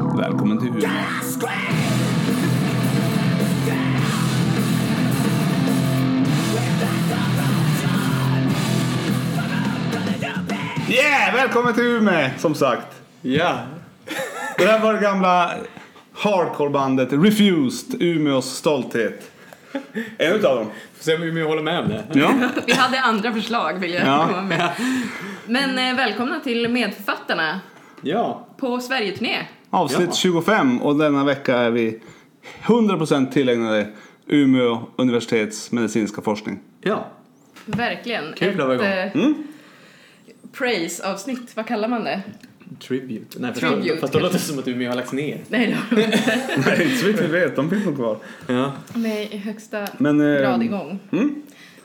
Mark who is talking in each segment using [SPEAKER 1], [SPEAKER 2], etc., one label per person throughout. [SPEAKER 1] Välkommen till Umeå. Yeah! Välkommen till Umeå, som sagt.
[SPEAKER 2] Ja.
[SPEAKER 1] Det där var det gamla hardcorebandet Refused, Umeås stolthet. En utav dem.
[SPEAKER 2] Får se om jag håller med om det.
[SPEAKER 1] Ja.
[SPEAKER 3] Vi hade andra förslag vill jag
[SPEAKER 1] Ja.
[SPEAKER 3] komma med. Men eh, välkomna till Medförfattarna
[SPEAKER 2] Ja.
[SPEAKER 3] på Sverigeturné.
[SPEAKER 1] Avsnitt
[SPEAKER 2] Ja.
[SPEAKER 1] 25 och denna vecka är vi 100% tillägnade Umeå universitets medicinska forskning.
[SPEAKER 2] Ja.
[SPEAKER 3] Verkligen.
[SPEAKER 2] Kul att vara igång.
[SPEAKER 3] eh,
[SPEAKER 1] Mm.
[SPEAKER 3] Praise-avsnitt, vad kallar man det?
[SPEAKER 2] Tribute. Nej, fast,
[SPEAKER 3] Tribute,
[SPEAKER 2] fast då låter det
[SPEAKER 3] kanske.
[SPEAKER 2] som att Umeå har lagts ner.
[SPEAKER 3] Nej, det har de inte.
[SPEAKER 1] Nej, inte så vitt vi vet. De finns nog kvar.
[SPEAKER 2] Ja.
[SPEAKER 3] De är i högsta
[SPEAKER 1] Men, eh,
[SPEAKER 3] grad igång.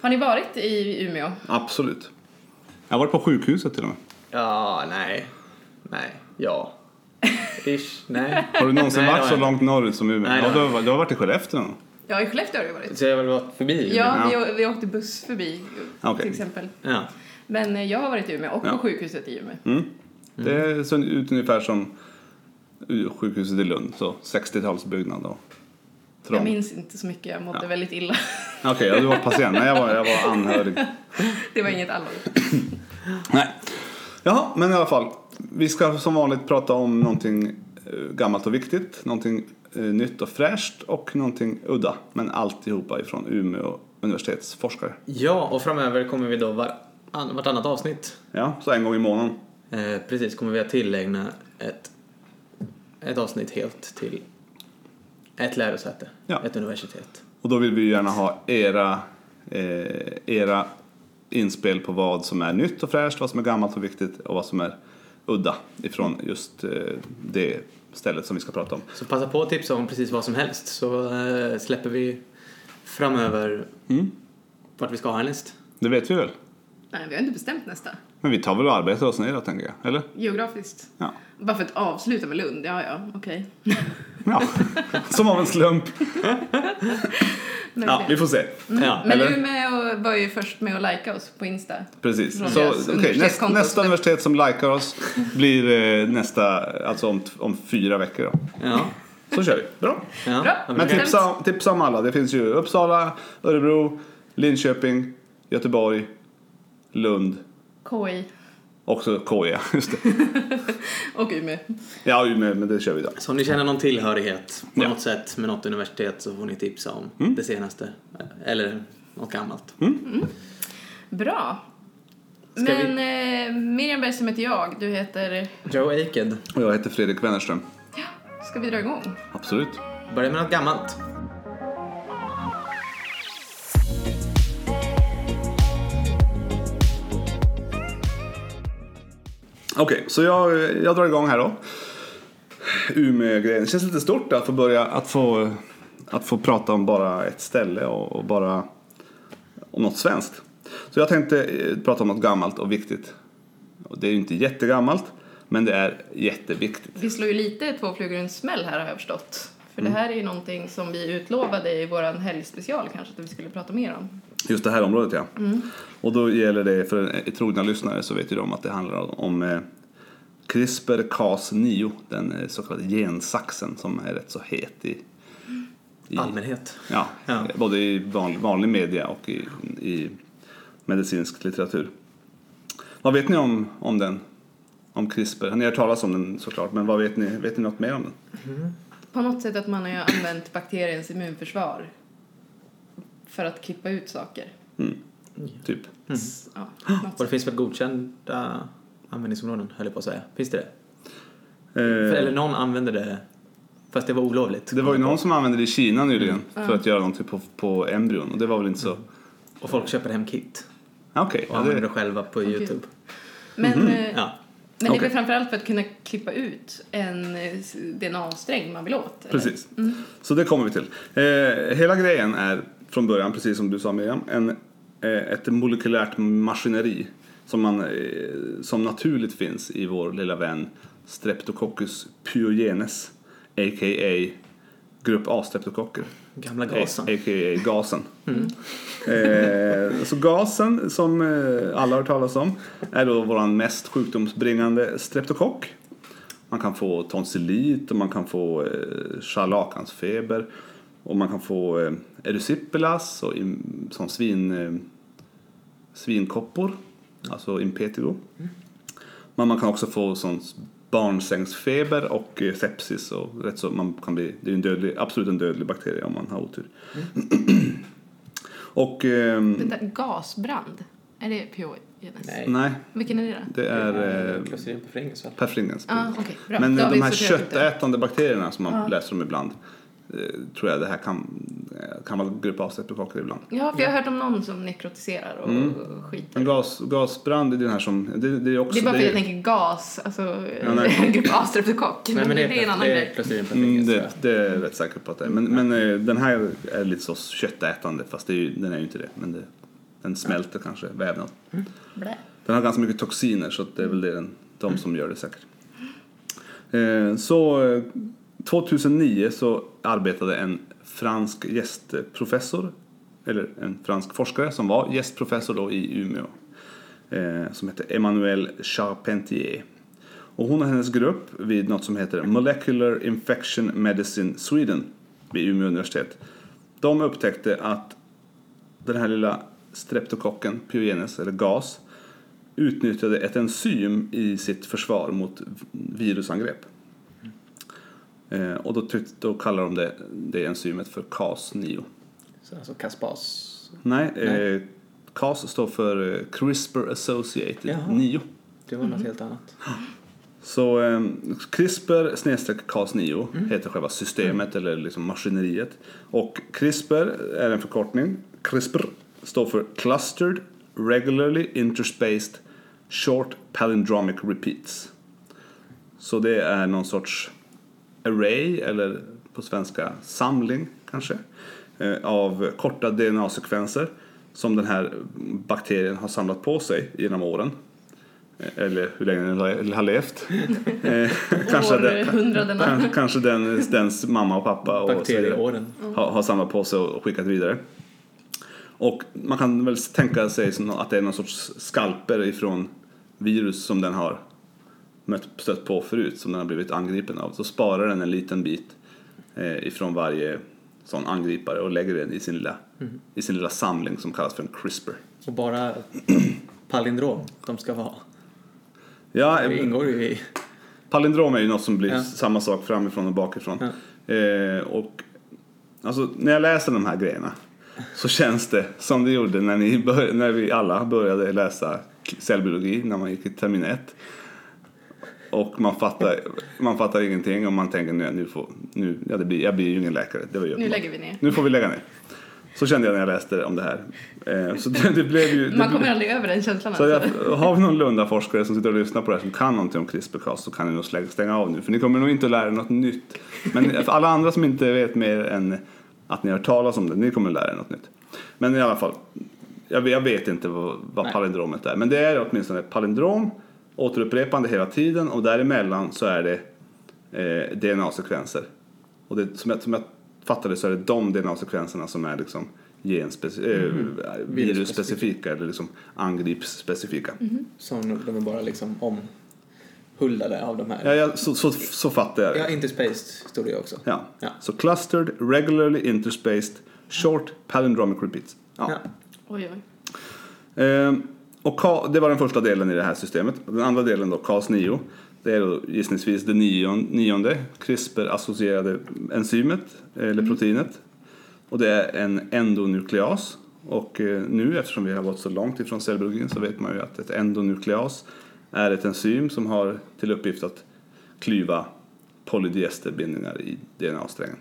[SPEAKER 3] Har ni varit i Umeå?
[SPEAKER 1] Absolut. Jag har varit på sjukhuset till och med.
[SPEAKER 2] Ja, nej. Nej. Ja. Ish. Nej.
[SPEAKER 1] Har du någonsin
[SPEAKER 2] Nej, det
[SPEAKER 1] varit
[SPEAKER 2] har
[SPEAKER 1] så
[SPEAKER 2] jag
[SPEAKER 1] långt norrut som Umeå?
[SPEAKER 2] Nej, det
[SPEAKER 1] ja,
[SPEAKER 2] har
[SPEAKER 1] du,
[SPEAKER 2] jag
[SPEAKER 1] har, du har varit i Skellefteå någon
[SPEAKER 3] Ja, i Skellefteå har jag varit.
[SPEAKER 2] Så jag har väl varit förbi Umeå?
[SPEAKER 3] Ja, vi, vi åkte buss förbi
[SPEAKER 1] Okej.
[SPEAKER 3] till exempel.
[SPEAKER 2] ja.
[SPEAKER 3] Men eh, jag har varit i Umeå och
[SPEAKER 1] Ja.
[SPEAKER 3] på sjukhuset i Umeå.
[SPEAKER 1] mm. Det är så, ut ungefär som sjukhuset i Lund. Så 60-talsbyggnad och
[SPEAKER 3] Jag
[SPEAKER 1] trång.
[SPEAKER 3] minns inte så mycket, jag mådde
[SPEAKER 1] Ja.
[SPEAKER 3] väldigt illa.
[SPEAKER 1] Okej, ja, du var patient. Nej, jag var, jag var anhörig.
[SPEAKER 3] Det var inget allvarligt.
[SPEAKER 1] Nej. Jaha, men i alla fall. Vi ska som vanligt prata om någonting eh, gammalt och viktigt, någonting eh, nytt och fräscht och någonting udda. Men alltihopa ifrån Umeå universitets forskare.
[SPEAKER 2] ja, och framöver kommer vi då var, an, vartannat avsnitt
[SPEAKER 1] Ja, så en gång i månaden.
[SPEAKER 2] eh, precis kommer vi att tillägna ett, ett avsnitt helt till ett lärosäte,
[SPEAKER 1] Ja.
[SPEAKER 2] ett universitet.
[SPEAKER 1] Och då vill vi ju gärna ha era, eh, era inspel på vad som är nytt och fräscht, vad som är gammalt och viktigt och vad som är udda ifrån just eh, det stället som vi ska prata om.
[SPEAKER 2] Så passa på att tipsa om precis vad som helst så eh, släpper vi framöver
[SPEAKER 1] Mm.
[SPEAKER 2] vart vi ska härnäst.
[SPEAKER 1] Det vet vi väl?
[SPEAKER 3] Nej, vi har inte bestämt nästa.
[SPEAKER 1] Men vi tar väl och arbetar oss neråt tänker jag, eller?
[SPEAKER 3] Geografiskt.
[SPEAKER 1] Ja.
[SPEAKER 3] Bara för att avsluta med Lund, ja ja, okej.
[SPEAKER 1] Ja, som av en slump.
[SPEAKER 3] Men-
[SPEAKER 1] Ja, vi får se.
[SPEAKER 2] Ja.
[SPEAKER 3] Mm. Men
[SPEAKER 1] eller?
[SPEAKER 3] Umeå var ju först med att likea oss på Insta.
[SPEAKER 1] Precis.
[SPEAKER 3] Från
[SPEAKER 1] Så,
[SPEAKER 3] deras
[SPEAKER 1] okej, näst,
[SPEAKER 3] universitetskonto.
[SPEAKER 1] nästa universitet som likar oss blir eh, nästa, alltså om, t- om fyra veckor då.
[SPEAKER 2] Ja.
[SPEAKER 1] Så kör vi. Bra.
[SPEAKER 2] Ja.
[SPEAKER 3] Bra.
[SPEAKER 2] Ja,
[SPEAKER 1] Men
[SPEAKER 3] Bestämt.
[SPEAKER 1] tipsa, om- tipsa om alla. Det finns ju Uppsala, Örebro, Linköping, Göteborg, Lund,
[SPEAKER 3] KI
[SPEAKER 1] också KE. Just det.
[SPEAKER 3] och Umeå.
[SPEAKER 1] Ja, Umeå, men det kör vi idag.
[SPEAKER 2] Så om ni känner någon tillhörighet på
[SPEAKER 1] Ja. Mm.
[SPEAKER 2] något sätt med något universitet så får ni tipsa om det senaste. eh, Eller något gammalt.
[SPEAKER 3] Bra.
[SPEAKER 2] Ska
[SPEAKER 3] Men eh, Miriam Bergström heter jag, du heter...
[SPEAKER 2] Joe Aked,
[SPEAKER 1] Och jag heter Fredrik Wennerström.
[SPEAKER 3] Ska vi dra igång?
[SPEAKER 1] Absolut.
[SPEAKER 2] börja med något gammalt.
[SPEAKER 1] Okej, så jag, jag drar igång här då. Umeå-grejen. Det känns lite stort att få börja, att få, att få prata om bara ett ställe och, och bara om något svenskt. Så jag tänkte eh, prata om något gammalt och viktigt. Och det är ju inte jättegammalt, men det är jätteviktigt.
[SPEAKER 3] Vi slår ju lite två flugor i en smäll här har jag förstått. För det här är ju någonting som vi utlovade i våran helgspecial kanske att vi skulle prata mer om.
[SPEAKER 1] Just det här området ja. Och då gäller det för eh, trogna lyssnare så vet ju de att det handlar om, om eh, CRISPR-Cas9, den eh, så kallade gensaxen som är rätt så het i, i
[SPEAKER 2] Allmänhet.
[SPEAKER 1] Ja,
[SPEAKER 2] Ja.
[SPEAKER 1] både i vanlig, vanlig media och i, i medicinsk litteratur. Vad vet ni om, om den? Om CRISPR? Ni har hört talas om den såklart, men vad vet ni, vet ni något mer om den?
[SPEAKER 3] På något sätt att man har ju använt bakteriens immunförsvar för att klippa ut saker.
[SPEAKER 1] Typ.
[SPEAKER 3] S- Ja, något
[SPEAKER 2] Och det finns väl godkända användningsområden, höll jag på att säga. Finns det det? För, eller
[SPEAKER 1] Eh,
[SPEAKER 2] någon använde det, fast det var olovligt.
[SPEAKER 1] det var ju någon som använde det i Kina nyligen för att göra någonting på, på embryon och det var väl inte så...
[SPEAKER 2] Och folk köper hem kit
[SPEAKER 1] Ja, Okej,
[SPEAKER 2] och
[SPEAKER 1] ja,
[SPEAKER 2] använder
[SPEAKER 1] det-
[SPEAKER 2] det själva på Youtube.
[SPEAKER 3] Men, eh,
[SPEAKER 2] Ja.
[SPEAKER 3] men det är
[SPEAKER 1] Okej.
[SPEAKER 3] väl framförallt för att kunna klippa ut en eh, s- DNA-sträng man vill åt? eller?
[SPEAKER 1] Precis.
[SPEAKER 2] Mm.
[SPEAKER 1] Så det kommer vi till. Eh, hela grejen är från början, precis som du sa Miriam, en, eh, ett molekylärt maskineri som, man, eh, som naturligt finns i vår lilla vän Streptococcus pyogenes, a.k.a. grupp A-streptokocker.
[SPEAKER 2] Gamla gasen. Mm.
[SPEAKER 1] A- A.k.a. gasen. Eh, så gasen, som eh, alla har hört talas om, är då våran mest sjukdomsbringande streptokock. Man kan få tonsillit och man kan få eh, scharlakansfeber. Och man kan få eh, erysipelas och im, som svin, eh, svinkoppor, alltså impetigo. Men man kan också få sån barnsängsfeber och eh, sepsis. Och rätt så man kan bli, det är en dödlig, absolut en dödlig bakterie om man har otur.
[SPEAKER 3] Mm.
[SPEAKER 1] och... ehm,
[SPEAKER 3] Det där, gasbrand, är det piogenes?
[SPEAKER 2] Nej.
[SPEAKER 1] nej, det
[SPEAKER 3] Vilken är det då?
[SPEAKER 1] det är eh,
[SPEAKER 2] Klosterin på Fringens va?
[SPEAKER 1] perfringens.
[SPEAKER 3] Ah, okej, bra.
[SPEAKER 1] Men
[SPEAKER 3] Då har
[SPEAKER 1] de
[SPEAKER 3] vi
[SPEAKER 1] här
[SPEAKER 3] sorterat ut det. Ah.
[SPEAKER 1] köttätande bakterierna som man
[SPEAKER 3] Ja.
[SPEAKER 1] läser om ibland eh, tror jag det här kan, eh, kan vara grupp A streptokocker ibland.
[SPEAKER 3] Ja, för jag har hört om någon som nekrotiserar och
[SPEAKER 1] Mm.
[SPEAKER 3] skiter.
[SPEAKER 1] En gas, gasbrand är den här som... Det, det är också...
[SPEAKER 3] Det är bara för att
[SPEAKER 1] det
[SPEAKER 3] jag tänker gas, alltså
[SPEAKER 1] Ja, nej.
[SPEAKER 3] grupp A-streptokock.
[SPEAKER 2] Nej men det är,
[SPEAKER 3] en annan
[SPEAKER 2] det är
[SPEAKER 3] grej.
[SPEAKER 2] Klosterin på
[SPEAKER 1] Mm,
[SPEAKER 2] Fringens tror
[SPEAKER 1] det,
[SPEAKER 2] jag.
[SPEAKER 1] det är jag rätt säker på att det är. Men, men eh, den här är lite så köttätande fast det är ju, den är ju inte det. Men det, den smälter kanske vävnad.
[SPEAKER 3] Blä.
[SPEAKER 1] Den har ganska mycket toxiner så att det är väl det den, de som gör det säkert. Eh, så eh, 2009 så arbetade en fransk gästprofessor, eller en fransk forskare som var gästprofessor då i Umeå, eh, som hette Emmanuel Charpentier. Och hon och hennes grupp vid något som heter Molecular Infection Medicine Sweden vid Umeå universitet, de upptäckte att den här lilla streptokocken, pyogenes eller gas, utnyttjade ett enzym i sitt försvar mot virusangrepp. Eh, och då, tyck, då kallar de det, det enzymet för CAS9.
[SPEAKER 2] Så, alltså Kaspas.
[SPEAKER 1] Nej,
[SPEAKER 2] Nej.
[SPEAKER 1] Eh, CAS står för eh, CRISPR Associated
[SPEAKER 2] Jaha.
[SPEAKER 1] 9.
[SPEAKER 2] Det var något helt annat.
[SPEAKER 1] Så eh, CRISPR snedstreck Cas9 heter själva systemet eller liksom maskineriet. Och CRISPR är en förkortning. CRISPR står för Clustered Regularly Interspaced Short Palindromic Repeats. Så det är någon sorts array eller på svenska samling kanske eh, av korta DNA-sekvenser som den här bakterien har samlat på sig genom åren. Eh, Eller hur länge den har- har levt. Eh, kanske den,
[SPEAKER 3] Århundradena.
[SPEAKER 1] kan- kanske den, dens mamma och pappa och så vidare
[SPEAKER 2] Bakterieåren.
[SPEAKER 1] har, har samlat på sig och skickat vidare. Och man kan väl tänka sig som att det är någon sorts skalper ifrån virus som den har mött, stött på förut, som den har blivit angripen av. Så sparar den en liten bit eh, ifrån varje sån angripare och lägger den i sin lilla, i sin lilla samling som kallas för en CRISPR.
[SPEAKER 2] Och bara palindrom de ska vara.
[SPEAKER 1] Ja,
[SPEAKER 2] Det ingår ju i...
[SPEAKER 1] Palindrom är ju något som blir
[SPEAKER 2] Ja.
[SPEAKER 1] samma sak framifrån och bakifrån. Eh, och alltså, när jag läser de här grejerna så känns det som det gjorde när, ni bör- när vi alla började läsa cellbiologi när man gick i termin 1. Och man fattar, man fattar ingenting och man tänker nu, nu får, nu, ja, det blir, jag blir ju ingen läkare. Det var ju
[SPEAKER 3] Nu
[SPEAKER 1] uppenbart.
[SPEAKER 3] lägger vi ner.
[SPEAKER 1] nu får vi lägga ner. Så kände jag när jag läste om det här. Eh, så det, det blev ju... Det
[SPEAKER 3] Man
[SPEAKER 1] ble-
[SPEAKER 3] kommer aldrig över den känslan
[SPEAKER 1] så
[SPEAKER 3] alltså.
[SPEAKER 1] jag, har vi någon Lundaforskare som sitter och lyssnar på det här som kan någonting om CRISPR-Cas så kan ni nog slä- stänga av nu för ni kommer nog inte att lära er något nytt. Men för alla andra som inte vet mer än att ni har hört talas om det, ni kommer att lära er något nytt. Men i alla fall, jag, jag vet inte vad, vad
[SPEAKER 2] Nej.
[SPEAKER 1] palindromet är men det är åtminstone palindrom, återupprepande hela tiden och däremellan så är det eh, DNA-sekvenser. Och det, som, jag, som jag fattade så är det de DNA-sekvenserna som är liksom genspec- eh, virusspecifika eller liksom angreppsspecifika.
[SPEAKER 2] Mhm. Som de är bara liksom omhuldade av de här.
[SPEAKER 1] Ja, ja, så, så, så fattar jag
[SPEAKER 2] Ja,
[SPEAKER 1] det.
[SPEAKER 2] interspaced stod det ju också.
[SPEAKER 1] Ja.
[SPEAKER 2] Ja.
[SPEAKER 1] Så clustered, regularly interspaced, short palindromic repeats. Ja.
[SPEAKER 2] Ja.
[SPEAKER 3] Oj, oj.
[SPEAKER 1] Ehm, och Ka- det var den första delen i det här systemet. Den andra delen då, Cas9. Det är då gissningsvis det nion- nionde CRISPR-associerade enzymet, eller
[SPEAKER 2] Mm.
[SPEAKER 1] proteinet. Och det är en endonukleas. Och eh, nu, eftersom vi har gått så långt ifrån cellbiologin, så vet man ju att ett endonukleas är ett enzym som har till uppgift att klyva polydesterbindningar i DNA-strängen.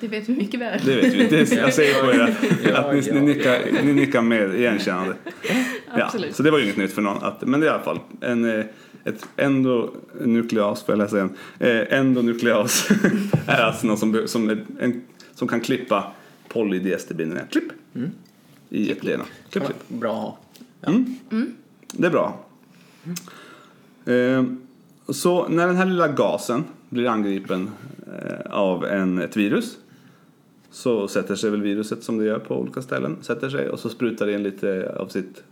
[SPEAKER 3] Det vet vi mycket väl.
[SPEAKER 1] Det vet vi. Det är, jag säger på er att, att ni,
[SPEAKER 2] Ja,
[SPEAKER 1] ni,
[SPEAKER 2] ja.
[SPEAKER 1] nickar, ni nickar med igenkännande. Ja,
[SPEAKER 3] Absolut.
[SPEAKER 1] så det var ju inget nytt för någon. Att, men det är i alla fall en, eh, ett endonukleas, får jag läsa igen? Eh, endonukleas är alltså någon som, be- som, är en, som kan klippa polydesterbindningar. Klipp! I ett DNA. Mm. Klipp, klipp.
[SPEAKER 2] Bra att ha.
[SPEAKER 1] Det är bra. Eh, så när den här lilla gasen blir angripen eh, av en, ett virus så sätter sig väl viruset som det gör på olika ställen, sätter sig och så sprutar det in lite av sitt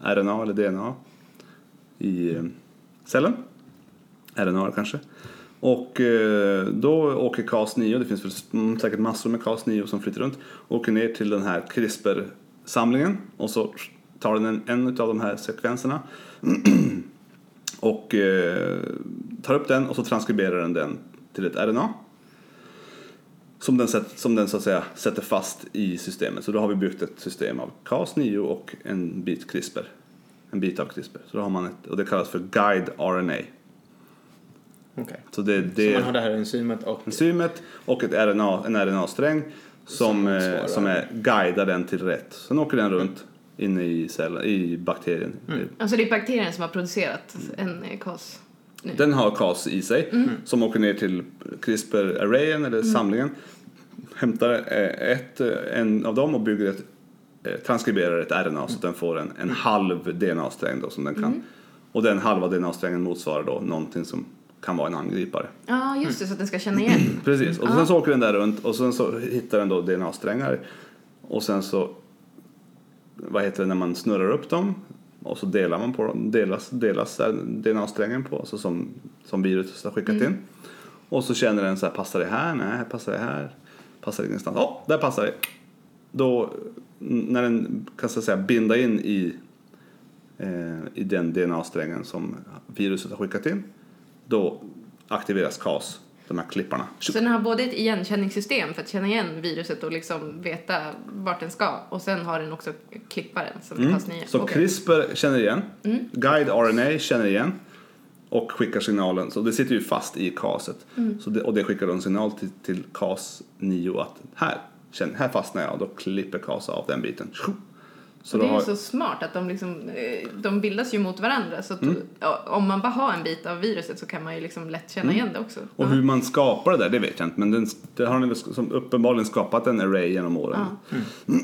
[SPEAKER 1] RNA eller DNA i eh, cellen. är en öre kanske. Och eh, då åker CAS 9, det finns väl mm, säkert massor med CAS 9 som flyter runt, åker ner till den här CRISPR-samlingen och så tar den en, en av de här sekvenserna och eh, tar upp den och så transkriberar den den till ett RNA. Som den, sätt- som den så att säga sätter fast i systemet. Så då har vi byggt ett system av Cas9 och en bit CRISPR. En bit av CRISPR. Så då har man ett, och det kallas för guide RNA.
[SPEAKER 2] Okej.
[SPEAKER 1] Så det,
[SPEAKER 2] Så
[SPEAKER 1] det
[SPEAKER 2] man har det här enzymet och...
[SPEAKER 1] enzymet och ett RNA, en RNA-sträng som,
[SPEAKER 2] Som
[SPEAKER 1] eh,
[SPEAKER 2] svarar.
[SPEAKER 1] som är, guidar den till rätt. Sen åker den runt inne i, cellen, i bakterien.
[SPEAKER 2] Mm.
[SPEAKER 3] Alltså det är bakterien som har producerat en eh, KAS. nu.
[SPEAKER 1] Den har CAS i sig som åker ner till CRISPR-arrayen eller samlingen. Hämtar eh, ett, eh, en av dem och bygger ett, eh, transkriberar ett RNA så att den får en, en halv DNA-sträng då som den kan. Och den halva DNA-strängen motsvarar då någonting som kan vara en angripare.
[SPEAKER 3] Ja, just det, så att den ska känna igen.
[SPEAKER 1] Precis, och sen så åker den där runt och sen så hittar den då DNA-strängar och sen så vad heter det när man snurrar upp dem och så delar man på dem, delas, delas där DNA-strängen på, alltså som, som viruset har skickat in. Och så känner den så här, passar det här? Nej, passar det här? Passar det ingenstans? Ja, där passar det. Då, n- när den kan så att säga binda in i, eh, i den DNA-strängen som viruset har skickat in, då aktiveras CAS, de här klipparna.
[SPEAKER 3] Så den har både ett igenkänningssystem för att känna igen viruset och liksom veta vart den ska och sen har den också klipparen som är
[SPEAKER 1] Mm.
[SPEAKER 3] KAS 9.
[SPEAKER 1] Så
[SPEAKER 3] Okej. Mm.
[SPEAKER 1] CRISPR känner igen, Guide RNA känner igen och skickar signalen. Så det sitter ju fast i CASet.
[SPEAKER 3] Mm.
[SPEAKER 1] Så det, och det skickar då en signal till, till CAS 9 att här, känn, här fastnar jag. Då klipper CAS av den biten. Tjo! Så
[SPEAKER 3] det
[SPEAKER 1] då
[SPEAKER 3] är ju
[SPEAKER 1] har,
[SPEAKER 3] så smart att de, liksom, eh, de bildas ju mot varandra. Så att
[SPEAKER 1] Mm.
[SPEAKER 3] ja, om man bara har en bit av viruset så kan man ju liksom lätt känna igen det också.
[SPEAKER 1] Mm. och
[SPEAKER 3] Ja.
[SPEAKER 1] hur man skapar det där, det vet jag inte. Men den, det har den väl som uppenbarligen skapat en array genom åren.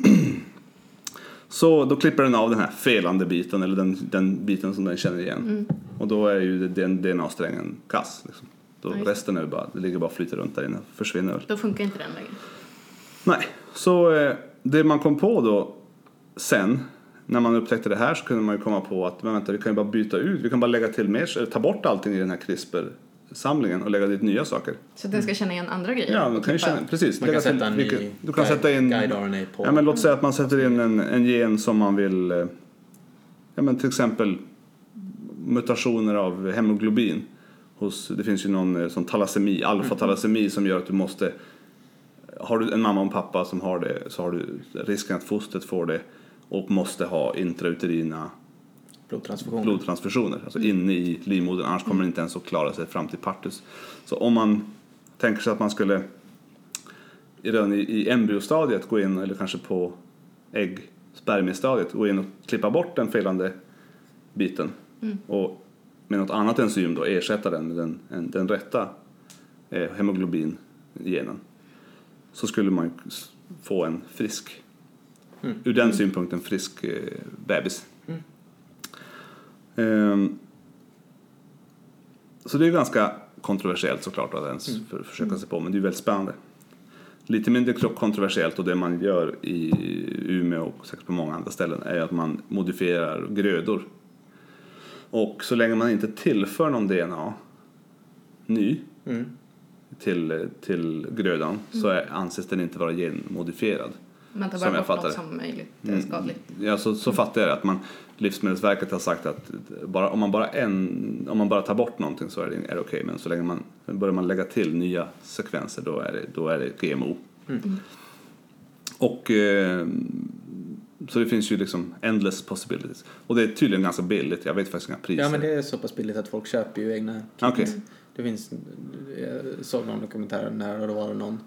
[SPEAKER 1] Så då klipper den av den här felande biten, eller den, den biten som den känner igen.
[SPEAKER 3] Mm.
[SPEAKER 1] Och då är ju den DNA-strängen kass. Liksom. Då
[SPEAKER 3] Ja, just det.
[SPEAKER 1] resten är ju bara, det ligger bara och flyter runt där inne, försvinner väl.
[SPEAKER 3] Då funkar inte den längre.
[SPEAKER 1] Nej, så eh, det man kom på då sen, när man upptäckte det här så kunde man ju komma på att men vänta, vi kan ju bara byta ut, vi kan bara lägga till mer, eller ta bort allting i den här CRISPR-samlingen och lägga dit nya saker.
[SPEAKER 3] Så att den ska känna igen andra grejer.
[SPEAKER 1] Mm.
[SPEAKER 3] Typ
[SPEAKER 1] Ja, man kan ju
[SPEAKER 3] Klippa.
[SPEAKER 1] känna, precis.
[SPEAKER 2] Man kan
[SPEAKER 1] lägga till
[SPEAKER 2] sätta en
[SPEAKER 1] vilket-
[SPEAKER 2] ny
[SPEAKER 1] du kan
[SPEAKER 2] guide-
[SPEAKER 1] sätta in,
[SPEAKER 2] guide RNA på.
[SPEAKER 1] Ja, men låt säga att man sätter in en, en gen som man vill, eh, ja men till exempel mutationer av hemoglobin. Hos, det finns ju någon eh, som talasemi,
[SPEAKER 2] Mm.
[SPEAKER 1] alfa-talasemi som gör att du måste, eh, har du en mamma och en pappa som har det så har du risken att fostret får det och måste ha intrauterina
[SPEAKER 2] Blodtransfusion.
[SPEAKER 1] blodtransfusioner, alltså inne i livmodern, annars kommer den inte ens att klara sig fram till partus. Så om man tänker sig att man skulle i- redan i, i embryostadiet gå in, eller kanske på ägg spermiestadiet, gå in och klippa bort den felande biten och med något annat enzym då ersätta den med den, en, den rätta eh, hemoglobin-genen så skulle man ju s- få en frisk, ur den synpunkten frisk eh, bebis. Ehm, så det är ganska kontroversiellt såklart att ens för, försöka sig på, men det är ju väldigt spännande. Lite mindre kro- kontroversiellt och det man gör i Umeå och säkert på många andra ställen är att man modifierar grödor. Och så länge man inte tillför någon DNA ny
[SPEAKER 2] Mm.
[SPEAKER 1] till, till grödan så är, anses den inte vara genmodifierad.
[SPEAKER 3] Man tar
[SPEAKER 1] Som
[SPEAKER 3] bara
[SPEAKER 1] jag
[SPEAKER 3] bort
[SPEAKER 1] fattar
[SPEAKER 3] något
[SPEAKER 1] det.
[SPEAKER 3] som möjligt är
[SPEAKER 1] Mm.
[SPEAKER 3] skadligt.
[SPEAKER 1] Ja, så, så fattar jag det. Att man, Livsmedelsverket har sagt att bara, om, man bara en, om man bara tar bort någonting så är det, är det okej. Men så länge man börjar man lägga till nya sekvenser då är det, då är det GMO.
[SPEAKER 2] Mm.
[SPEAKER 3] Mm.
[SPEAKER 1] Och eh, så det finns ju liksom endless possibilities. Och det är tydligen ganska billigt. Jag vet faktiskt inga priser.
[SPEAKER 2] Ja men det är så pass billigt att folk köper ju egna
[SPEAKER 1] Okej.
[SPEAKER 2] Det finns, jag såg någon dokumentär när det var någon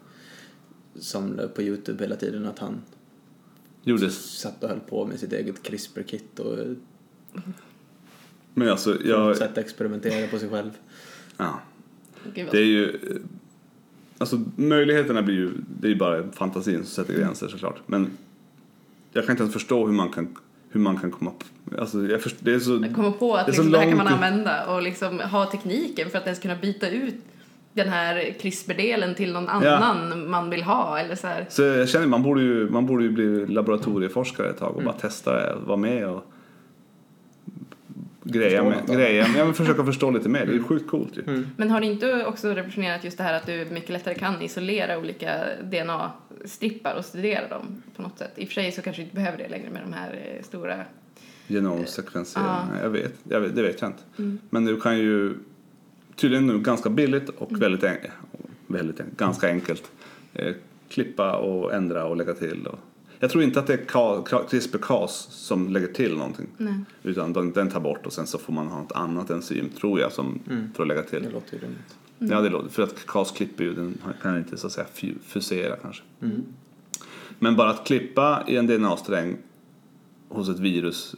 [SPEAKER 2] som la upp på Youtube hela tiden att han
[SPEAKER 1] Gjordes.
[SPEAKER 2] satt och höll på med sitt eget CRISPR-kit och
[SPEAKER 1] Men alltså,
[SPEAKER 2] på något
[SPEAKER 1] jag...
[SPEAKER 2] sätt experimenterade på sig själv.
[SPEAKER 1] Ja.
[SPEAKER 3] Gud, vad-
[SPEAKER 1] Det är ju... eh, Alltså möjligheterna blir ju... Det är ju bara fantasin som sätter
[SPEAKER 2] Mm.
[SPEAKER 1] gränser såklart. Men jag kan inte ens förstå hur man kan, hur man kan komma... p- Alltså jag förstår, det är så...
[SPEAKER 3] Jag kommer på att
[SPEAKER 1] Det är
[SPEAKER 3] liksom,
[SPEAKER 1] så
[SPEAKER 3] det här kan
[SPEAKER 1] långt
[SPEAKER 3] man
[SPEAKER 1] upp.
[SPEAKER 3] använda och liksom ha tekniken för att ens kunna byta ut den här CRISPR-delen till någon annan man vill ha eller så här.
[SPEAKER 1] Så jag känner man borde ju, man
[SPEAKER 2] Mm.
[SPEAKER 1] borde ju bli laboratorieforskare ett tag och bara testa det, vara med och greja
[SPEAKER 2] Förstå
[SPEAKER 1] med,
[SPEAKER 2] något av det. Mm.
[SPEAKER 1] greja, men jag vill försöka förstå lite mer. Det är ju sjukt coolt ju.
[SPEAKER 3] Men har det inte också revolutionerat just det här att du mycket lättare kan isolera olika DNA-strippar och studera dem på något sätt? I och för sig så kanske du inte behöver det längre med de här eh, stora...
[SPEAKER 1] Genomsekvensering, jag vet, jag vet, det vet jag inte. Men du kan ju tydligen nu ganska billigt och väldigt, en, väldigt en, ganska enkelt eh, klippa och ändra och lägga till. Och, jag tror inte att det är Ka- Ka- CRISPR-Cas som lägger till någonting.
[SPEAKER 3] Nej.
[SPEAKER 1] Utan den, den tar bort och sen så får man ha något annat enzym tror jag som, för att lägga till.
[SPEAKER 2] Det låter ju rimligt.
[SPEAKER 1] Ja, det låter, för att KAS klipper ju, den kan inte så att säga fu- fusera kanske.
[SPEAKER 2] Mm.
[SPEAKER 1] Men bara att klippa i en DNA-sträng hos ett virus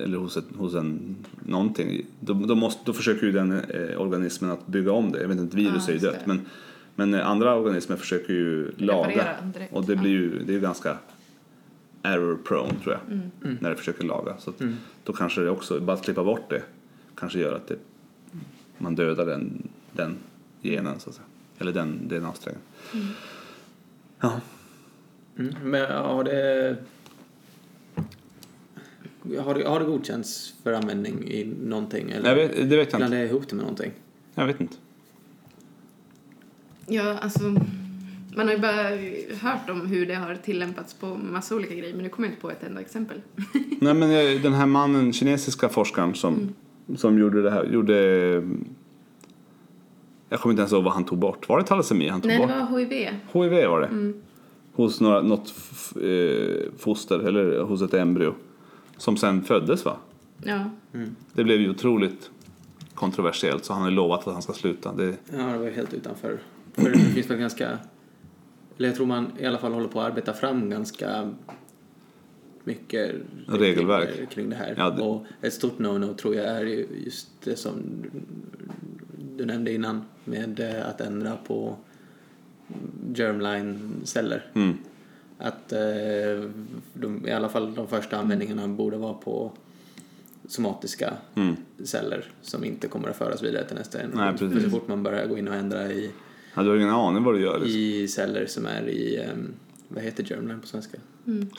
[SPEAKER 1] eller hos, ett, hos en någonting, då, då, måste, då försöker ju den eh, organismen att bygga om det. Jag vet inte, ett virus är
[SPEAKER 3] Ja,
[SPEAKER 1] ju
[SPEAKER 3] just
[SPEAKER 1] dött,
[SPEAKER 3] det.
[SPEAKER 1] men, men eh, andra organismer försöker ju laga.
[SPEAKER 3] Reparera direkt,
[SPEAKER 1] Och det
[SPEAKER 3] ja. Mm.
[SPEAKER 1] blir ju, det är ju ganska error prone tror jag, när det försöker laga. Så att, då kanske det också, bara att klippa bort det, kanske gör att det man dödar den, den genen så att säga. Eller den DNA-strängen.
[SPEAKER 3] Mm.
[SPEAKER 1] Ja.
[SPEAKER 2] Mm. Men har det... Har det, har det godkänts för användning i någonting? Eller
[SPEAKER 1] Jag vet, det vet jag
[SPEAKER 2] blandar
[SPEAKER 1] inte.
[SPEAKER 2] jag ihop det med någonting?
[SPEAKER 1] Jag vet inte.
[SPEAKER 3] Ja, alltså... Man har ju bara hört om hur det har tillämpats på massa olika grejer men nu kommer jag inte på ett enda exempel.
[SPEAKER 1] Nej men eh, den här mannen, kinesiska forskaren som,
[SPEAKER 3] Mm.
[SPEAKER 1] som gjorde det här, gjorde... Jag kommer inte ens ihåg vad han tog bort. Var det thalasemi han tog
[SPEAKER 3] Nej, det
[SPEAKER 1] bort?
[SPEAKER 3] var Mm. HIV.
[SPEAKER 1] HIV var det. Hos några, något f- eh, foster, eller hos ett embryo. Som sen föddes va?
[SPEAKER 3] Ja.
[SPEAKER 1] Det blev ju otroligt kontroversiellt så han har ju lovat att han ska sluta. Det,
[SPEAKER 2] Ja, det var ju helt utanför. För det finns väl ganska... Eller jag tror man i alla fall håller på att arbeta fram ganska mycket
[SPEAKER 1] Regelverk.
[SPEAKER 2] kring det här.
[SPEAKER 1] Ja, det-
[SPEAKER 2] Och ett stort no-no tror jag är ju just det som du nämnde innan med eh, att ändra på germline-celler.
[SPEAKER 1] mm.
[SPEAKER 2] Att eh, de, i alla fall de första användningarna borde vara på somatiska
[SPEAKER 1] Mm.
[SPEAKER 2] celler som inte kommer att föras vidare till nästa
[SPEAKER 1] Nej,
[SPEAKER 2] generation.
[SPEAKER 1] precis.
[SPEAKER 2] För så fort man börjar gå in och ändra i,
[SPEAKER 1] Ja, du har ju ingen aning vad du gör. Liksom.
[SPEAKER 2] i celler som är i, ehm, vad heter germline på svenska?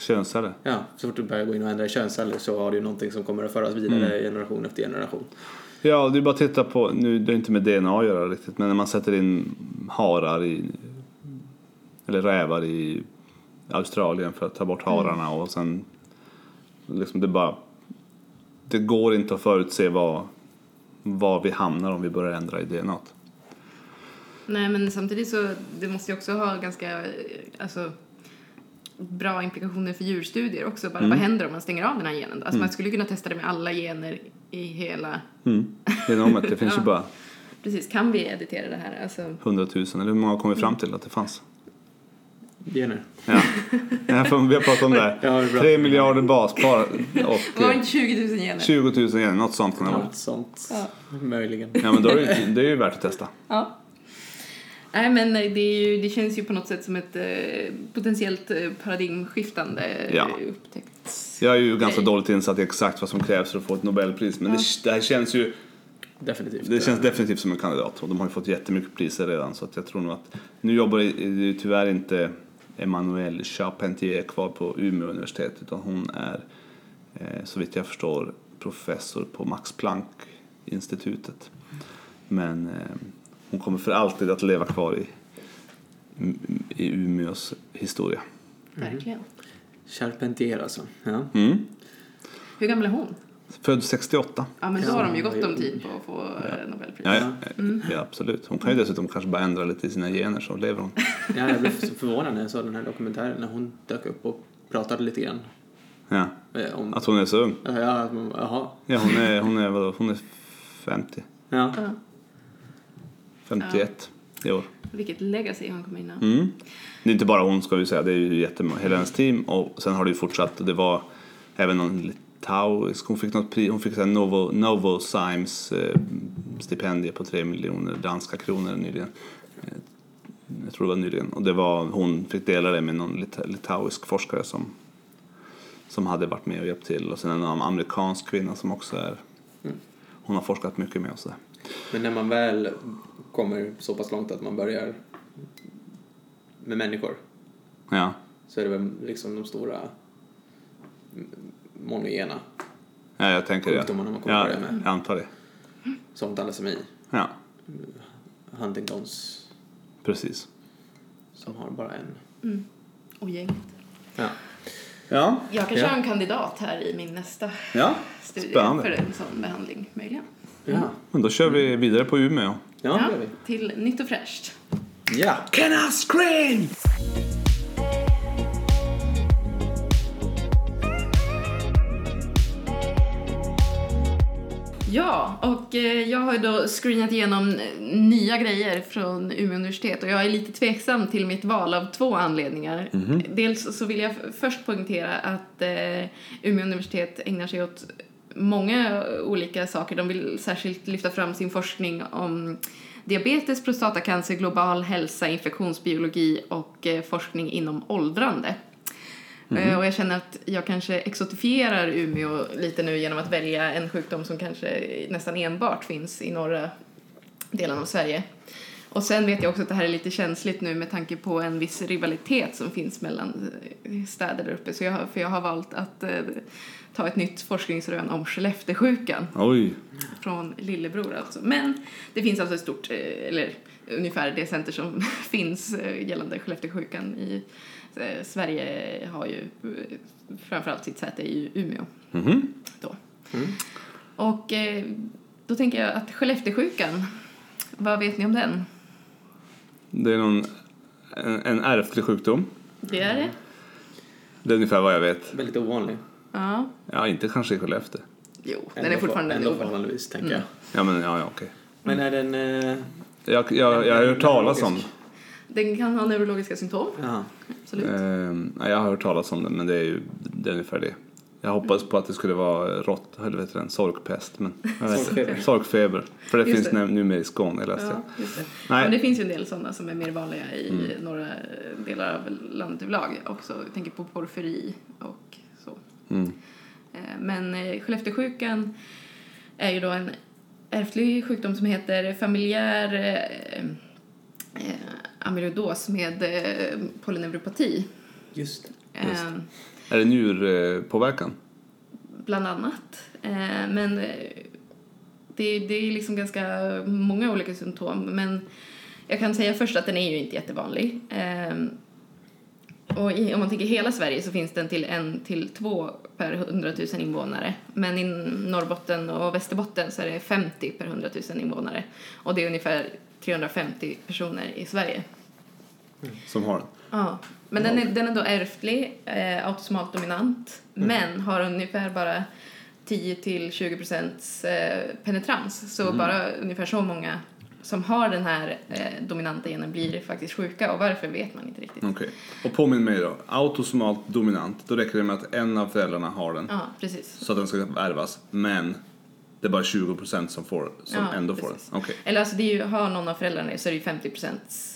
[SPEAKER 1] Könsare.
[SPEAKER 2] Ja, så fort du börjar gå in och ändra i könsceller så har du ju någonting som kommer att föras vidare
[SPEAKER 1] Mm.
[SPEAKER 2] generation efter generation.
[SPEAKER 1] Ja, du bara att titta på, nu det är inte med DNA att göra riktigt, men när man sätter in harar i, eller rävar i Australien för att ta bort hararna och sen, liksom det bara, det går inte att förutse vad, var vi hamnar om vi börjar ändra i DNA. t.
[SPEAKER 3] Nej, men samtidigt så det måste ju också ha ganska eh, alltså, bra implikationer för djurstudier också. Bara
[SPEAKER 1] Mm.
[SPEAKER 3] vad händer om man stänger av den här genen? då? Alltså, Man skulle kunna testa det med alla gener i hela...
[SPEAKER 1] Mm. Genomet, det finns ju
[SPEAKER 3] Ja.
[SPEAKER 1] bara
[SPEAKER 3] Precis, kan vi editera det här? Alltså,
[SPEAKER 1] hundratusen, eller hur många kom vi fram till att det fanns?
[SPEAKER 2] Gener.
[SPEAKER 1] Ja. Ja, för vi har pratat om det
[SPEAKER 2] Ja, det är
[SPEAKER 1] här.
[SPEAKER 2] bra.
[SPEAKER 1] Tre miljarder baspar och
[SPEAKER 3] var det
[SPEAKER 1] eh,
[SPEAKER 3] inte 20 000 gener?
[SPEAKER 1] 20 000 gener, något sånt kan det vara.
[SPEAKER 2] Något sånt.
[SPEAKER 3] Ja.
[SPEAKER 2] Möjligen.
[SPEAKER 1] Ja men då är det, ju- det är ju värt att testa.
[SPEAKER 3] Ja. Nej, men eh, det, är ju, det känns ju på något sätt som ett eh, potentiellt eh, paradigmskiftande
[SPEAKER 1] Ja.
[SPEAKER 3] eh, upptäckt.
[SPEAKER 1] Jag är ju ganska dåligt insatt i exakt vad som krävs för att få ett Nobelpris men det, det här känns ju
[SPEAKER 2] Definitivt.
[SPEAKER 1] det känns definitivt som en kandidat och de har ju fått jättemycket priser redan så att jag tror nog att nu jobbar det ju tyvärr inte Emmanuelle Charpentier kvar på Umeå universitet utan hon är eh, så vitt jag förstår professor på Max Planck institutet men eh, hon kommer för alltid att leva kvar i, i Umeås historia.
[SPEAKER 3] Verkligen.
[SPEAKER 2] Charpentier alltså. Ja.
[SPEAKER 1] Mm.
[SPEAKER 3] Hur gammal är hon?
[SPEAKER 1] Född 68.
[SPEAKER 3] Ja, men då
[SPEAKER 2] Ja,
[SPEAKER 3] har de ju
[SPEAKER 2] hon
[SPEAKER 3] gott
[SPEAKER 2] var ju
[SPEAKER 3] om tid på att få eh, Nobelpris.
[SPEAKER 1] Ja, Mm. ja. ja, absolut. Hon kan ju dessutom kanske bara ändra lite i sina gener så lever hon.
[SPEAKER 2] Ja, jag blev så förvånad när jag såg den här dokumentären när hon dök upp och pratade lite grann
[SPEAKER 1] Ja.
[SPEAKER 2] eh, om...
[SPEAKER 1] Att hon är så ung.
[SPEAKER 2] Ja, att man- jaha.
[SPEAKER 1] Ja, hon är, hon är, vadå, hon är 50.
[SPEAKER 2] Ja.
[SPEAKER 3] Ja.
[SPEAKER 1] 51 i år.
[SPEAKER 3] Vilket legacy hon kommer in ha.
[SPEAKER 1] Mm. Det är inte bara hon ska vi säga, det är ju jättemånga, hela hennes team och sen har det ju fortsatt och det var även någon litauisk, hon fick något pri, hon fick så här Novo, Novo eh, stipendier på 3 miljoner danska kronor nyligen. Eh, Jag tror det var nyligen och det var, hon fick dela det med någon lita, litauisk forskare som, som hade varit med och hjälpt till och sen en annan amerikansk kvinna som också är, hon har forskat mycket med oss där.
[SPEAKER 2] Men när man väl kommer så pass långt att man börjar med människor
[SPEAKER 1] Ja.
[SPEAKER 2] så är det väl liksom de stora monogena
[SPEAKER 1] Ja, jag tänker det.
[SPEAKER 2] Sjukdomarna man kommer
[SPEAKER 1] Ja,
[SPEAKER 2] på det med.
[SPEAKER 1] jag antar det.
[SPEAKER 2] Som Dalasemi,
[SPEAKER 1] Ja,
[SPEAKER 2] Huntingtons,
[SPEAKER 1] precis.
[SPEAKER 2] som har bara en.
[SPEAKER 3] Och gänget.
[SPEAKER 2] Ja.
[SPEAKER 1] Ja,
[SPEAKER 3] Jag kanske
[SPEAKER 2] Ja.
[SPEAKER 3] har en kandidat här i min nästa
[SPEAKER 1] ja.
[SPEAKER 3] studie
[SPEAKER 1] Spännande.
[SPEAKER 3] för en sån behandling möjligen.
[SPEAKER 2] Ja.
[SPEAKER 1] Men då kör vi vidare på Umeå.
[SPEAKER 2] Ja, det gör vi.
[SPEAKER 3] till nytt och fräscht.
[SPEAKER 2] Ja.
[SPEAKER 1] Can I scream?
[SPEAKER 3] Ja, och eh, jag har ju då screenat igenom eh, nya grejer från Umeå universitet och jag är lite tveksam till mitt val av två anledningar. Dels så vill jag f- först poängtera att eh, Umeå universitet ägnar sig åt många olika saker. De vill särskilt lyfta fram sin forskning om diabetes, prostatacancer, global hälsa, infektionsbiologi och eh, forskning inom åldrande. Eh, Och jag känner att jag kanske exotifierar Umeå lite nu genom att välja en sjukdom som kanske nästan enbart finns i norra delen av Sverige. Och sen vet jag också att det här är lite känsligt nu med tanke på en viss rivalitet som finns mellan eh, städer där uppe. Så jag, har- för jag har valt att eh, ta ett nytt forskningsrön om Skelleftesjukan
[SPEAKER 1] Oj.
[SPEAKER 3] från lillebror alltså. Men det finns alltså ett stort, eh, eller ungefär det center som finns eh, gällande Skellefteåsjukan i eh, Sverige har ju eh, framförallt sitt säte i Umeå
[SPEAKER 1] Mhm.
[SPEAKER 3] då. Och eh, då tänker jag att Skellefteåsjukan, vad vet ni om den?
[SPEAKER 1] Det är någon, en, en ärftlig sjukdom.
[SPEAKER 3] Det är det?
[SPEAKER 1] Det är ungefär vad jag vet.
[SPEAKER 2] Väldigt ovanlig.
[SPEAKER 3] Ja.
[SPEAKER 1] Ja, inte kanske i Skellefteå.
[SPEAKER 3] Jo, den
[SPEAKER 2] Ändå
[SPEAKER 3] är
[SPEAKER 2] för-
[SPEAKER 3] fortfarande
[SPEAKER 2] Ändå
[SPEAKER 3] ovanlig. Mm.
[SPEAKER 2] förhållandevis, tänker jag.
[SPEAKER 1] Ja, men ja, ja okej.
[SPEAKER 2] Men är den... Eh,
[SPEAKER 1] Jag, jag, jag har hört talas om
[SPEAKER 3] Den kan ha neurologiska symptom,
[SPEAKER 2] ja.
[SPEAKER 3] absolut.
[SPEAKER 1] Ehm, nej, jag har hört talas om det, men det är ju det är ungefär det. Jag hoppades på att det skulle vara rått, eller vet du, en sorkpest. Men jag vet
[SPEAKER 2] Sorkfeber.
[SPEAKER 1] sorkfeber. sorkfeber. För det
[SPEAKER 3] Just
[SPEAKER 1] finns
[SPEAKER 3] det.
[SPEAKER 1] nu- numera i Skåne, läste jag.
[SPEAKER 3] Ja, just det.
[SPEAKER 1] Nej. Mm.
[SPEAKER 3] Men det finns ju en del sådana som är mer vanliga i några delar av landet överlag också. Jag tänker på porfyri och så.
[SPEAKER 1] Mm.
[SPEAKER 3] Eh, Men eh, Skellefteåsjukan är ju då en ärftlig sjukdom som heter familjär eh, eh, amyloidos med eh, polyneuropati.
[SPEAKER 2] Just det.
[SPEAKER 1] Just.
[SPEAKER 3] Eh,
[SPEAKER 1] Är det njurpåverkan?
[SPEAKER 3] bland annat. Eh, men eh, det, det är liksom ganska många olika symptom. Men jag kan säga först att den är ju inte jättevanlig. Eh, och i, om man tänker hela Sverige så finns den till en till två per 100 000 invånare. Men i Norrbotten och Västerbotten så är det 50 per 100 000 invånare. Och det är ungefär 350 personer i Sverige.
[SPEAKER 1] Som har den?
[SPEAKER 3] Ja, men den är, den är då ärftlig, eh, autosomalt dominant,
[SPEAKER 1] Mm.
[SPEAKER 3] men har ungefär bara 10-20% eh, penetrans. Så
[SPEAKER 1] Mm.
[SPEAKER 3] bara ungefär så många som har den här eh, dominanta genen blir faktiskt sjuka och varför vet man inte riktigt.
[SPEAKER 1] Okej. Och påminn mig då. Autosomalt dominant. Då räcker det med att en av föräldrarna har den.
[SPEAKER 3] Ja, precis.
[SPEAKER 1] Så att den ska ärvas. Men det är bara 20% som, får, som
[SPEAKER 3] Ja,
[SPEAKER 1] ändå
[SPEAKER 3] precis.
[SPEAKER 1] får den. Okej.
[SPEAKER 3] Eller alltså det är ju, har någon av föräldrarna det så är det ju 50%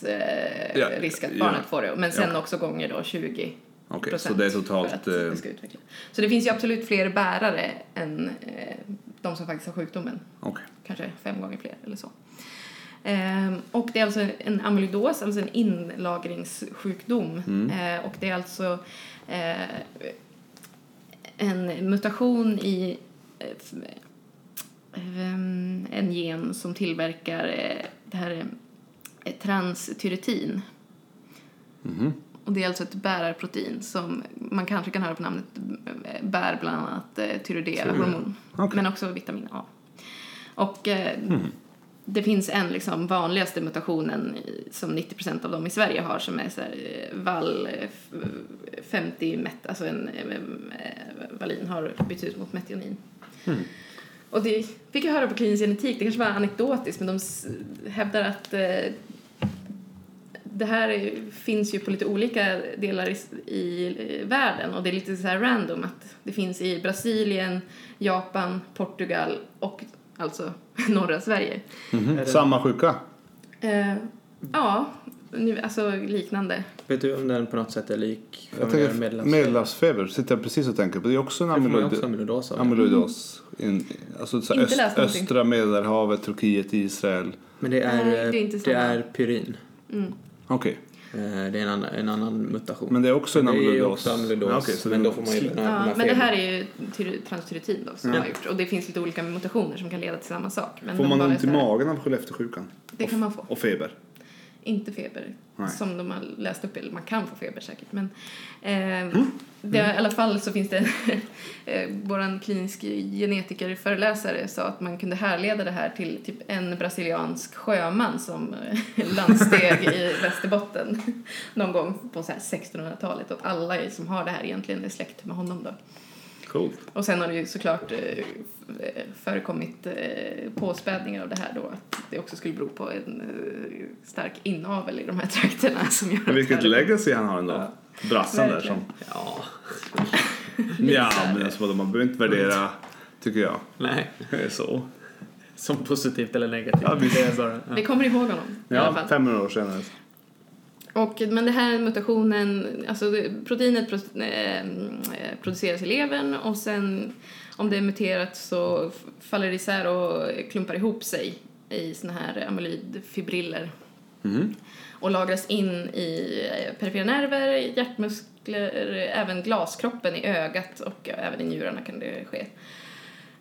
[SPEAKER 3] eh,
[SPEAKER 1] Ja,
[SPEAKER 3] risk att
[SPEAKER 1] ja.
[SPEAKER 3] barnet får det. Men sen
[SPEAKER 1] Ja.
[SPEAKER 3] också gånger då 20
[SPEAKER 1] Okej, så det är totalt,
[SPEAKER 3] för att det
[SPEAKER 1] eh,
[SPEAKER 3] ska utvecklas. Så det finns ju absolut fler bärare än eh, de som faktiskt har sjukdomen.
[SPEAKER 1] Okej.
[SPEAKER 3] kanske fem gånger fler eller så. Ehm, och det är alltså en amyloidos, alltså en inlagringssjukdom. Eh, och det är alltså eh, en mutation i eh, f- eh, en gen som tillverkar eh, det här eh, transtyretin. Och det är alltså ett bärarprotein som man kanske kan höra på namnet eh, bär bland annat eh, tyrodea-hormon.
[SPEAKER 1] Okej.
[SPEAKER 3] Men också vitamin A. Och eh, det finns en liksom vanligaste mutationen i- som 90 av dem i Sverige har som är så här, eh, val eh, f- 50 met, alltså en eh, eh, valin har bytts ut mot metionin. Och det fick jag höra på klinisk genetik, det kanske var anekdotiskt men de s- hävdar att eh, det här är- finns ju på lite olika delar i, i eh, världen och det är lite så här random att det finns i Brasilien, Japan, Portugal och alltså norra Sverige.
[SPEAKER 1] Mhm. Samma sjuka?
[SPEAKER 3] Eh, ja, nu, alltså liknande.
[SPEAKER 2] Vet du om den på något sätt är lik
[SPEAKER 1] Jag
[SPEAKER 2] familjär
[SPEAKER 1] tänker
[SPEAKER 2] medelhavs-
[SPEAKER 1] medelhavsfeber. Sitter jag precis och tänker på. Det är också en
[SPEAKER 2] Det får man ju också
[SPEAKER 1] amyloid...
[SPEAKER 2] amyloidos av.
[SPEAKER 1] Amyloidos. In, alltså så här
[SPEAKER 3] Inte
[SPEAKER 1] öst,
[SPEAKER 3] läst någonting.
[SPEAKER 1] östra Medelhavet, Turkiet, Israel.
[SPEAKER 2] Men det är,
[SPEAKER 3] Nej, det är inte
[SPEAKER 2] det
[SPEAKER 3] samma.
[SPEAKER 2] är pyrin.
[SPEAKER 1] Okej.
[SPEAKER 2] Eh, Det är en annan, en annan mutation.
[SPEAKER 1] Men det är också en
[SPEAKER 2] Det är ju
[SPEAKER 1] amyloidos.
[SPEAKER 2] också amyloidos.
[SPEAKER 1] Ja, okej, så
[SPEAKER 2] men
[SPEAKER 1] det-
[SPEAKER 2] då får man ju den här, den
[SPEAKER 3] Ja,
[SPEAKER 2] här
[SPEAKER 3] men det
[SPEAKER 2] felen.
[SPEAKER 3] här är ju tyr- transthyretin då som de har gjort och det finns lite olika mutationer som kan leda till samma sak. Men
[SPEAKER 1] Får
[SPEAKER 3] de
[SPEAKER 1] man
[SPEAKER 3] bara
[SPEAKER 1] ont i
[SPEAKER 3] så här-
[SPEAKER 1] magen av Skellefteåsjukan?
[SPEAKER 3] Det
[SPEAKER 1] Och-
[SPEAKER 3] kan man få.
[SPEAKER 1] Och feber?
[SPEAKER 3] Inte feber,
[SPEAKER 1] Nej.
[SPEAKER 3] som de har läst upp. Eller man kan få feber säkert. Men, eh, Det, I alla fall så finns det... eh, Vår klinisk genetikerföreläsare sa att man kunde härleda det här till typ en brasiliansk sjöman som eh, landsteg i Västerbotten någon gång på så här 1600-talet. Och alla som har det här egentligen är släkt med honom då.
[SPEAKER 1] Coolt.
[SPEAKER 3] Och sen har det ju såklart eh, f- förekommit eh, påspädningar av det här då. Att det också skulle bero på en eh, stark inavel i de här trakterna som gör
[SPEAKER 1] Men vilket
[SPEAKER 3] att det-
[SPEAKER 1] legacy han har ändå. Brassan där som...
[SPEAKER 2] Ja,
[SPEAKER 1] Ja, men alltså, vadå, man behöver inte värdera, tycker jag.
[SPEAKER 2] nej.
[SPEAKER 1] Det är Så.
[SPEAKER 2] Som positivt eller negativt.
[SPEAKER 1] Ja, visst.
[SPEAKER 2] det är bara, ja.
[SPEAKER 3] Vi kommer ihåg honom i alla
[SPEAKER 1] Ja,
[SPEAKER 3] fall.
[SPEAKER 1] 500 år senare.
[SPEAKER 3] Och, men det här mutationen, alltså det- proteinet pro, eh, produceras i levern och sen om det är muterat så f- faller det isär och klumpar ihop sig i såna här amyloidfibriller.
[SPEAKER 1] Mhm.
[SPEAKER 3] och lagras in i eh, perifera nerver, hjärtmuskler, eh, även glaskroppen i ögat och eh, även i njurarna kan det ske.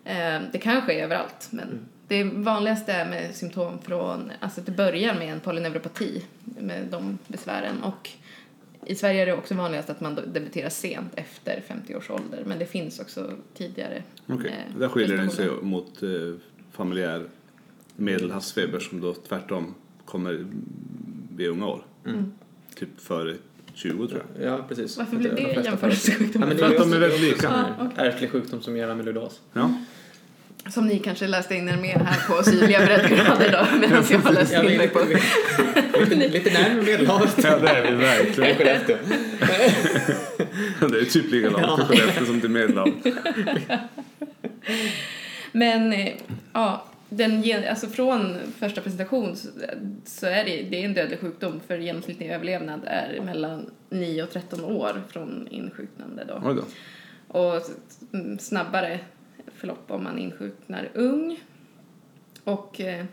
[SPEAKER 3] Eh, Det kan ske överallt,
[SPEAKER 1] Mm.
[SPEAKER 3] men det vanligaste är med symptom från, alltså det börjar med en polyneuropati med de besvären och i Sverige är det också vanligast att man då debuterar sent efter 50 års ålder, men det finns också tidigare.
[SPEAKER 1] Okej,
[SPEAKER 3] eh,
[SPEAKER 1] där skiljer den sig
[SPEAKER 3] prestationer.
[SPEAKER 1] mot eh, familjär medelhavsfeber som då tvärtom kommer vid unga år. Typ före 20 tror jag.
[SPEAKER 2] ja, precis.
[SPEAKER 3] Varför blir
[SPEAKER 2] De
[SPEAKER 3] det
[SPEAKER 2] flesta
[SPEAKER 3] jämförelsesjukdom?
[SPEAKER 2] Ja, men det
[SPEAKER 1] För att
[SPEAKER 2] just-
[SPEAKER 1] de är väldigt
[SPEAKER 2] det
[SPEAKER 1] lika.
[SPEAKER 2] också en Ärftlig sjukdom som ger amyloidas.
[SPEAKER 1] Ja.
[SPEAKER 3] Som ni kanske läste in er mer här på syrliga breddgrader då, medan jag läste
[SPEAKER 2] Ja,
[SPEAKER 3] in
[SPEAKER 2] vi-
[SPEAKER 3] mig på...
[SPEAKER 2] vi- lite, lite närmare medelhavet. Typ.
[SPEAKER 1] ja, det är vi verkligen.
[SPEAKER 2] än Skellefteå.
[SPEAKER 1] Det är typ lika långt till Skellefteå som till Medelhavet.
[SPEAKER 3] Men eh, ja, den, gen- alltså från första presentation så- så är det, det är en dödlig sjukdom för genomsnittlig överlevnad är mellan 9 och 13 år från insjuknande då.
[SPEAKER 1] Oj då.
[SPEAKER 3] Och s- mm, snabbare förlopp om man insjuknar ung. Och eh,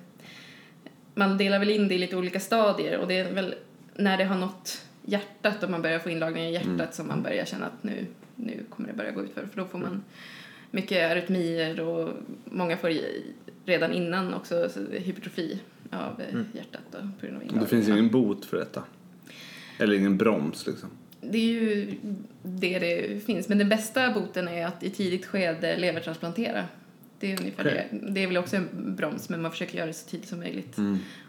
[SPEAKER 3] man delar väl in det i lite olika stadier och det är väl när det har nått hjärtat och man börjar få inlagningar i hjärtat
[SPEAKER 1] Mm.
[SPEAKER 3] som man börjar känna att nu, nu kommer det börja gå utför för då får man mycket arytmier och många får i- redan innan också så- hypertrofi av eh, hjärtat då, på grund av
[SPEAKER 1] Mm. Det
[SPEAKER 3] inlagning.
[SPEAKER 1] finns ingen bot för detta. Eller ingen broms liksom.
[SPEAKER 3] Det är ju det det finns. Men den bästa boten är att i tidigt skede levertransplantera. Det är ungefär
[SPEAKER 1] Okej. Mm.
[SPEAKER 3] det. Det är väl också en broms, men man försöker göra det så tidigt som möjligt.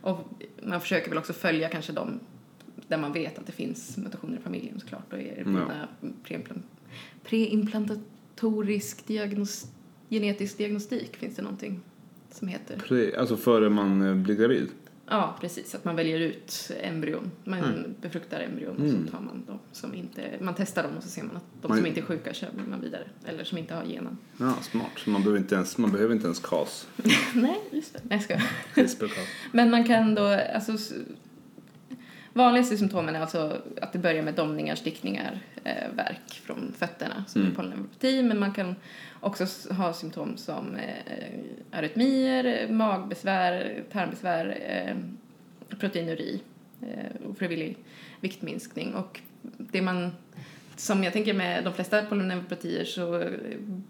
[SPEAKER 3] Och man försöker väl också följa kanske de där man vet att det finns mutationer i familjen såklart och erbjuda preimplan- preimplantatorisk diagnos- genetisk diagnostik finns det någonting som heter.
[SPEAKER 1] Pre- Alltså före man eh, blir gravid.
[SPEAKER 3] Ja, precis. Att man väljer ut embryon. Man befruktar embryon och
[SPEAKER 1] Mm.
[SPEAKER 3] så tar man de som inte... Man testar dem och så ser man att de
[SPEAKER 1] Man-
[SPEAKER 3] som inte är sjuka kör man vidare. Eller som inte har genen.
[SPEAKER 1] Ja, smart. Så man behöver inte ens, man behöver inte ens CAS.
[SPEAKER 3] Nej, just det. Nej, jag skojar.
[SPEAKER 1] CRISPR-CAS.
[SPEAKER 3] Men man kan då... Alltså, s- vanligaste symptomen är alltså att det börjar med domningar, stickningar, eh, värk från fötterna som
[SPEAKER 1] Mm.
[SPEAKER 3] är polyneuropati. Men man kan också s- ha symptom som eh, arytmier, eh, magbesvär, tarmbesvär, eh, proteinuri, eh, ofrivillig viktminskning. Och det man, som jag tänker med de flesta polyneuropatier så eh,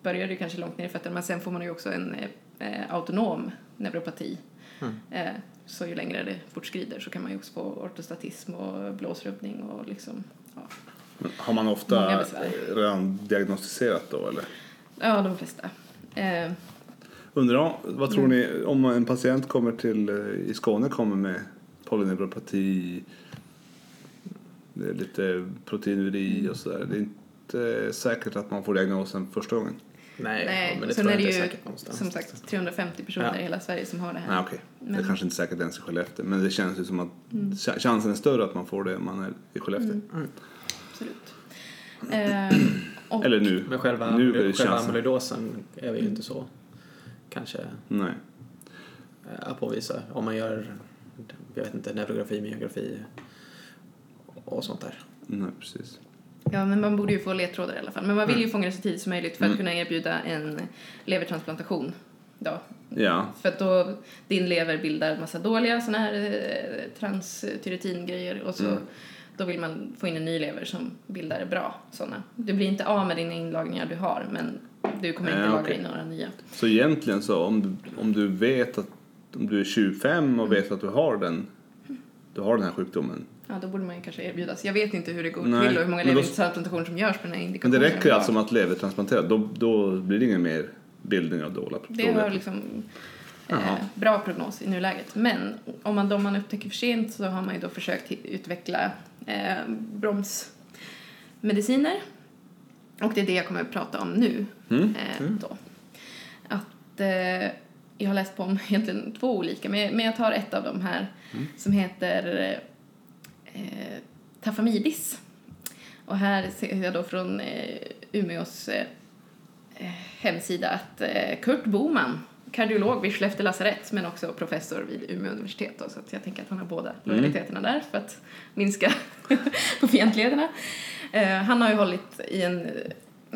[SPEAKER 3] börjar det ju kanske långt ner i fötterna men sen får man ju också en eh, eh, autonom neuropati. Eh, så ju längre det fortskrider så kan man ju också få ortostatism och blåsrubbning och liksom, ja,
[SPEAKER 1] Men Har man
[SPEAKER 3] Många
[SPEAKER 1] ofta
[SPEAKER 3] besvär.
[SPEAKER 1] eh, redan diagnostiserat då eller?
[SPEAKER 3] ja de flesta. Eh,
[SPEAKER 1] Undrar, vad tror ni om en patient kommer till, eh, i Skåne kommer med polyneuropati, det är lite proteinuri och sådär. Det är inte säkert att man får diagnosen första gången.
[SPEAKER 2] Nej,
[SPEAKER 3] nej,
[SPEAKER 2] ja, men det
[SPEAKER 3] sen
[SPEAKER 2] tror
[SPEAKER 3] är
[SPEAKER 2] jag
[SPEAKER 3] det
[SPEAKER 2] inte är
[SPEAKER 3] ju
[SPEAKER 2] säkert någonstans.
[SPEAKER 3] som sagt 350 personer
[SPEAKER 2] Ja.
[SPEAKER 3] i hela Sverige som har det här.
[SPEAKER 1] Nej okej, det
[SPEAKER 3] Men-
[SPEAKER 1] kanske inte är säkert ens i Skellefteå. Men det känns ju som att
[SPEAKER 3] Mm.
[SPEAKER 1] ch- chansen är större att man får det om man är i Skellefteå.
[SPEAKER 3] Absolut. Eh, och,
[SPEAKER 1] Eller nu.
[SPEAKER 2] Men själva,
[SPEAKER 1] nu är det
[SPEAKER 2] själva
[SPEAKER 1] chansen.
[SPEAKER 2] amyloidosen är vi ju inte så kanske
[SPEAKER 1] Nej.
[SPEAKER 2] eh, att påvisa om man gör jag vet inte, neurografi, myografi och sånt där.
[SPEAKER 1] Nej, precis.
[SPEAKER 3] Ja, men man borde ju få ledtrådar i alla fall. Men man vill
[SPEAKER 1] Mm.
[SPEAKER 3] ju fånga det så tidigt som möjligt för att kunna erbjuda en levertransplantation. Då.
[SPEAKER 1] Ja,
[SPEAKER 3] För att då
[SPEAKER 1] Mm.
[SPEAKER 3] din lever bildar massa dåliga såna här eh, transthyretingrejer och så Då vill man få in en ny lever som bildar bra sådana. Du blir inte av med dina inlagringar du har men du kommer
[SPEAKER 1] Nej,
[SPEAKER 3] inte lagra
[SPEAKER 1] Eh, okej.
[SPEAKER 3] in några nya.
[SPEAKER 1] Så egentligen så om du, om du vet att om du är 25
[SPEAKER 3] Mm.
[SPEAKER 1] och vet att du har den, du har den här sjukdomen.
[SPEAKER 3] Ja, då borde man ju kanske erbjudas. Jag vet inte hur det går
[SPEAKER 1] Nej,
[SPEAKER 3] till och hur många
[SPEAKER 1] men då-
[SPEAKER 3] levertransplantationer som görs på den här
[SPEAKER 1] Men
[SPEAKER 3] indikationen.
[SPEAKER 1] det räcker alltså med att levertransplantera, då, då blir det ingen mer bildning av dåliga
[SPEAKER 3] Det har liksom eh,
[SPEAKER 1] Jaha.
[SPEAKER 3] bra prognos i nuläget. Men om man, de man upptäcker för sent så har man ju då försökt hi- utveckla eh, bromsmediciner. Och det är det jag kommer att prata om nu.
[SPEAKER 1] Mm,
[SPEAKER 3] Eh, då. Att, eh, jag har läst på om egentligen två olika, men, men jag tar ett av dem här som heter eh, eh, Tafamidis. Och här ser jag då från eh, Umeås eh, eh, hemsida att eh, Kurt Boman, kardiolog vid Skellefteå lasarett men också professor vid Umeå universitet då, så att jag tänker att han har båda lojaliteterna där för att minska på fientligheterna. Eh, han har ju hållit i en eh,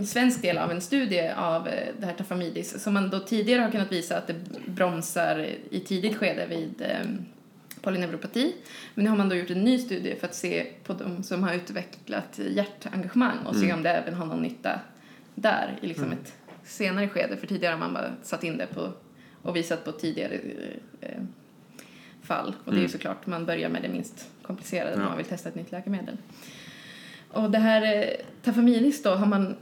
[SPEAKER 3] svensk del av en studie av eh, det här tafamidis som man då tidigare har kunnat visa att det bromsar i tidigt skede vid eh, polyneuropati. Men nu har man då gjort en ny studie för att se på de som har utvecklat hjärtengagemang och se om det även har någon nytta där i liksom ett senare skede. För tidigare har man bara satt in det på och visat på tidigare eh, eh, fall. Och det är ju såklart, man börjar med det minst komplicerade när
[SPEAKER 1] Mm. Ja.
[SPEAKER 3] man vill testa ett nytt läkemedel. Och det här eh, Tafamidis då har man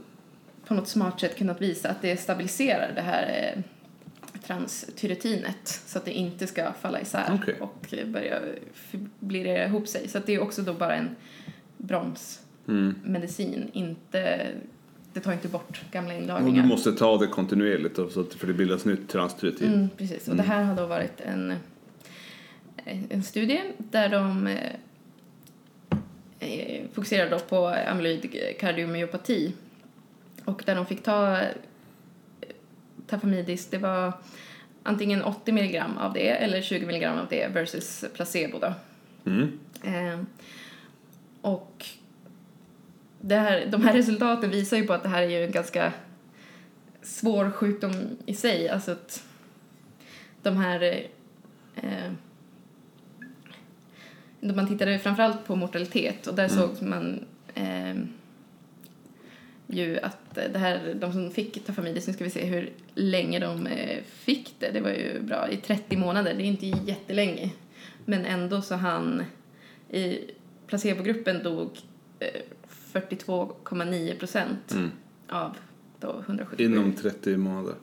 [SPEAKER 3] på något smart sätt kunnat visa att det stabiliserar det här eh, transtyretinet så att det inte ska falla isär
[SPEAKER 1] Okej.
[SPEAKER 3] och eh, börja fibrillera ihop sig. Så att det är också då bara en bromsmedicin,
[SPEAKER 1] Mm.
[SPEAKER 3] inte, det tar inte bort gamla
[SPEAKER 1] Och du
[SPEAKER 3] inlagringar.
[SPEAKER 1] måste ta det kontinuerligt då, så att, för det bildas nytt transtyretin.
[SPEAKER 3] Mm, precis, och det här har då varit en, en studie där de eh, eh, fokuserar då på amyloid kardiomyopati och där de fick ta eh, tafamidis, det var antingen 80 milligram av det eller 20 milligram av det versus placebo då.
[SPEAKER 1] Mm.
[SPEAKER 3] Eh, och det här, de här resultaten visar ju på att det här är ju en ganska svår sjukdom i sig. Alltså att de här... Eh, då man tittade framförallt på mortalitet och där såg man eh, ju att det här, de som fick tafamidis, nu ska vi se hur länge de eh, fick det, det var ju bra, i 30 månader, det är inte jättelänge. Men ändå så han i placebogruppen dog eh, 42,9 procent
[SPEAKER 1] Mm.
[SPEAKER 3] av då 177.
[SPEAKER 1] Inom 30 månader.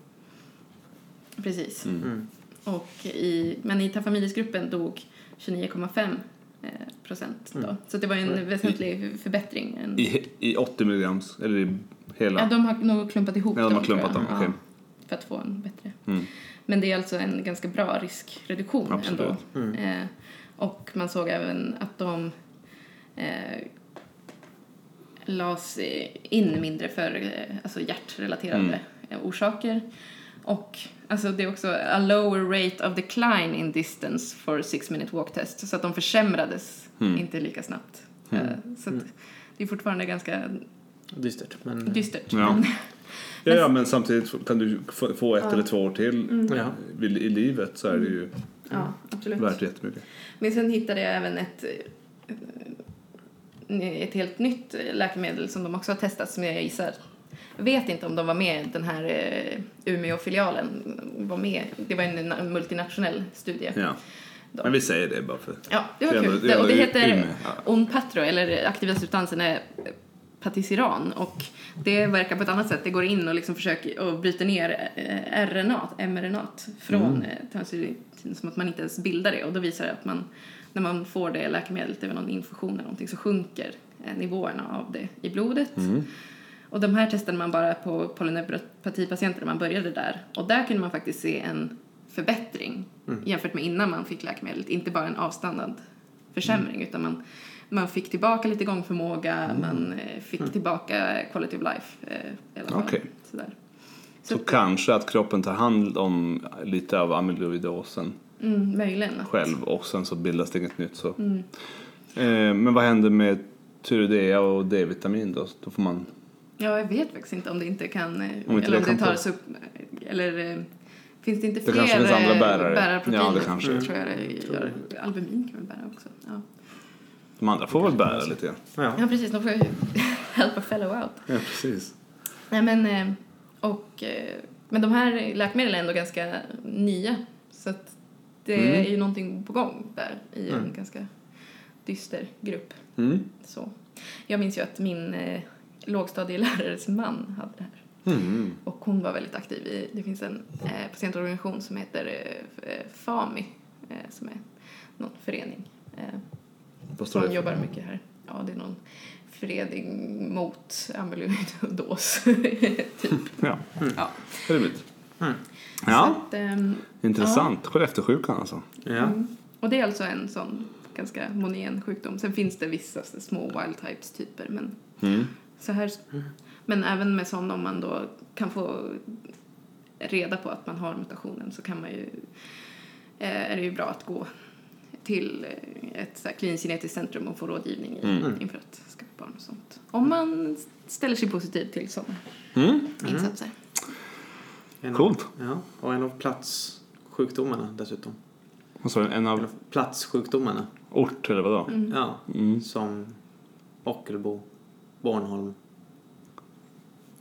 [SPEAKER 3] Precis.
[SPEAKER 2] Mm.
[SPEAKER 3] Och i, men i Tafamidisgruppen dog 29,5 eh, procent då.
[SPEAKER 1] Mm.
[SPEAKER 3] Så det var ju en väsentlig förbättring. En,
[SPEAKER 1] I, I 80 milligrams, eller i hela?
[SPEAKER 3] ja, de har nog klumpat ihop
[SPEAKER 1] Nej, de har
[SPEAKER 3] tror
[SPEAKER 1] klumpat
[SPEAKER 3] jag,
[SPEAKER 1] dem, okej.
[SPEAKER 3] För att få en bättre.
[SPEAKER 1] Mm.
[SPEAKER 3] Men det är alltså en ganska bra riskreduktion
[SPEAKER 1] Absolut.
[SPEAKER 3] ändå. Eh, och man såg även att de eh, lades eh, in mindre för eh, alltså hjärtrelaterade
[SPEAKER 1] Mm.
[SPEAKER 3] eh, orsaker. Och alltså det är också a lower rate of decline in distance for six minute walk test. Så att de försämrades
[SPEAKER 1] Mm.
[SPEAKER 3] inte lika snabbt. Eh, så att det är fortfarande ganska
[SPEAKER 2] Dystert, men...
[SPEAKER 3] dystert.
[SPEAKER 1] Ja. Ja, ja, men samtidigt kan du få få ett eller två år till
[SPEAKER 3] Mm.
[SPEAKER 2] Ja.
[SPEAKER 1] i, i livet så är det ju
[SPEAKER 3] ja, absolut.
[SPEAKER 1] värt jättemycket.
[SPEAKER 3] Men sen hittade jag även ett, eh, ett helt nytt läkemedel som de också har testat som jag gissar jag vet inte om de var med, den här eh, Umeå-filialen var med. Det var en na- multinationell studie.
[SPEAKER 1] Ja.
[SPEAKER 3] Då.
[SPEAKER 1] Men vi säger det bara för...
[SPEAKER 3] Ja, det var
[SPEAKER 1] Det är
[SPEAKER 3] kul.
[SPEAKER 1] ändå- det är
[SPEAKER 3] och det
[SPEAKER 1] ändå
[SPEAKER 3] heter
[SPEAKER 1] Umeå, ja.
[SPEAKER 3] Onpatro, eller aktiva substansen är patisiran och det verkar på ett annat sätt. Det går in och liksom försöker och bryter ner eh, RNA, mRNA från mm. transyretin som att man inte ens bildar det och då visar det att man när man får det läkemedlet över någon infusion eller någonting så sjunker eh, nivåerna av det i blodet.
[SPEAKER 1] Mm.
[SPEAKER 3] Och de här testade man bara på polyneuropatipatienter när man började där. Och där kunde man faktiskt se en förbättring
[SPEAKER 1] Mm.
[SPEAKER 3] jämfört med innan man fick läkemedlet. Inte bara en avstannad försämring
[SPEAKER 1] Mm.
[SPEAKER 3] utan man, man fick tillbaka lite gångförmåga, man eh, fick tillbaka quality of life. Eh, i alla fall.
[SPEAKER 1] Mm. Okej.
[SPEAKER 3] Sådär.
[SPEAKER 1] Så kanske att kroppen tar hand om lite av amyloidosen
[SPEAKER 3] Mm, möjligen. Mm. att-
[SPEAKER 1] själv och sen så bildas det inget nytt. Så. Eh, men vad händer med Tyridea och D-vitamin då? Då får man...
[SPEAKER 3] Ja, jag vet faktiskt inte om det inte kan... eh,
[SPEAKER 1] Om inte
[SPEAKER 3] eller
[SPEAKER 1] det
[SPEAKER 3] om
[SPEAKER 1] kan
[SPEAKER 3] det
[SPEAKER 1] ta-
[SPEAKER 3] tas upp... Eller eh, finns det inte
[SPEAKER 1] Det
[SPEAKER 3] fler
[SPEAKER 1] kanske finns andra
[SPEAKER 3] eh,
[SPEAKER 1] bärare.
[SPEAKER 3] bärarproteiner?
[SPEAKER 1] Ja, det kanske.
[SPEAKER 2] Mm.
[SPEAKER 3] Tror jag det gör. Albumin kan väl bära också. Ja.
[SPEAKER 1] De andra får väl bära lite grann.
[SPEAKER 2] Ja.
[SPEAKER 3] Ja, precis. De får ju help a fellow out.
[SPEAKER 1] Ja, precis.
[SPEAKER 3] Nej, men, eh, och, eh, men de här läkemedlen är ändå ganska nya. Så att det
[SPEAKER 1] Mm.
[SPEAKER 3] är ju någonting på gång där i en
[SPEAKER 2] Mm.
[SPEAKER 3] ganska dyster grupp.
[SPEAKER 1] Mm.
[SPEAKER 3] Så. Jag minns ju att min eh, lågstadielärares man hade det här.
[SPEAKER 1] Mm.
[SPEAKER 3] Och hon var väldigt aktiv i, det finns en eh, patientorganisation som heter eh, F- eh, FAMI, eh, som är någon förening. Eh,
[SPEAKER 1] Vad står det
[SPEAKER 3] som
[SPEAKER 1] för?
[SPEAKER 3] jobbar mycket här. Ja, det är någon förening mot amyloidos, typ.
[SPEAKER 1] Ja,
[SPEAKER 3] Ja.
[SPEAKER 1] trevligt.
[SPEAKER 2] Mm.
[SPEAKER 1] Ja,
[SPEAKER 3] Så att, ehm,
[SPEAKER 1] intressant. Skellefteåsjukan alltså.
[SPEAKER 2] Ja.
[SPEAKER 3] mm. Och det är alltså en sån ganska monogen sjukdom. Sen finns det vissa så- små wild types typer, men
[SPEAKER 1] Mm.
[SPEAKER 3] så här. Men även med sån om man då kan få reda på att man har mutationen så kan man ju eh, är det ju bra att gå till eh, ett så här, kliniskt genetiskt centrum och få rådgivning i,
[SPEAKER 1] Mm.
[SPEAKER 3] inför att skaffa barn och sånt. Om man ställer sig positiv till sådana
[SPEAKER 1] Mm.
[SPEAKER 3] insatser.
[SPEAKER 2] En av-
[SPEAKER 1] Coolt.
[SPEAKER 2] Ja. Och en av platssjukdomarna dessutom.
[SPEAKER 1] Vad sa du? En
[SPEAKER 2] En
[SPEAKER 1] av
[SPEAKER 2] av platssjukdomarna.
[SPEAKER 1] ort eller vadå?
[SPEAKER 3] Mm.
[SPEAKER 2] Ja.
[SPEAKER 1] Mm.
[SPEAKER 2] Som Ockelbo, Bornholm,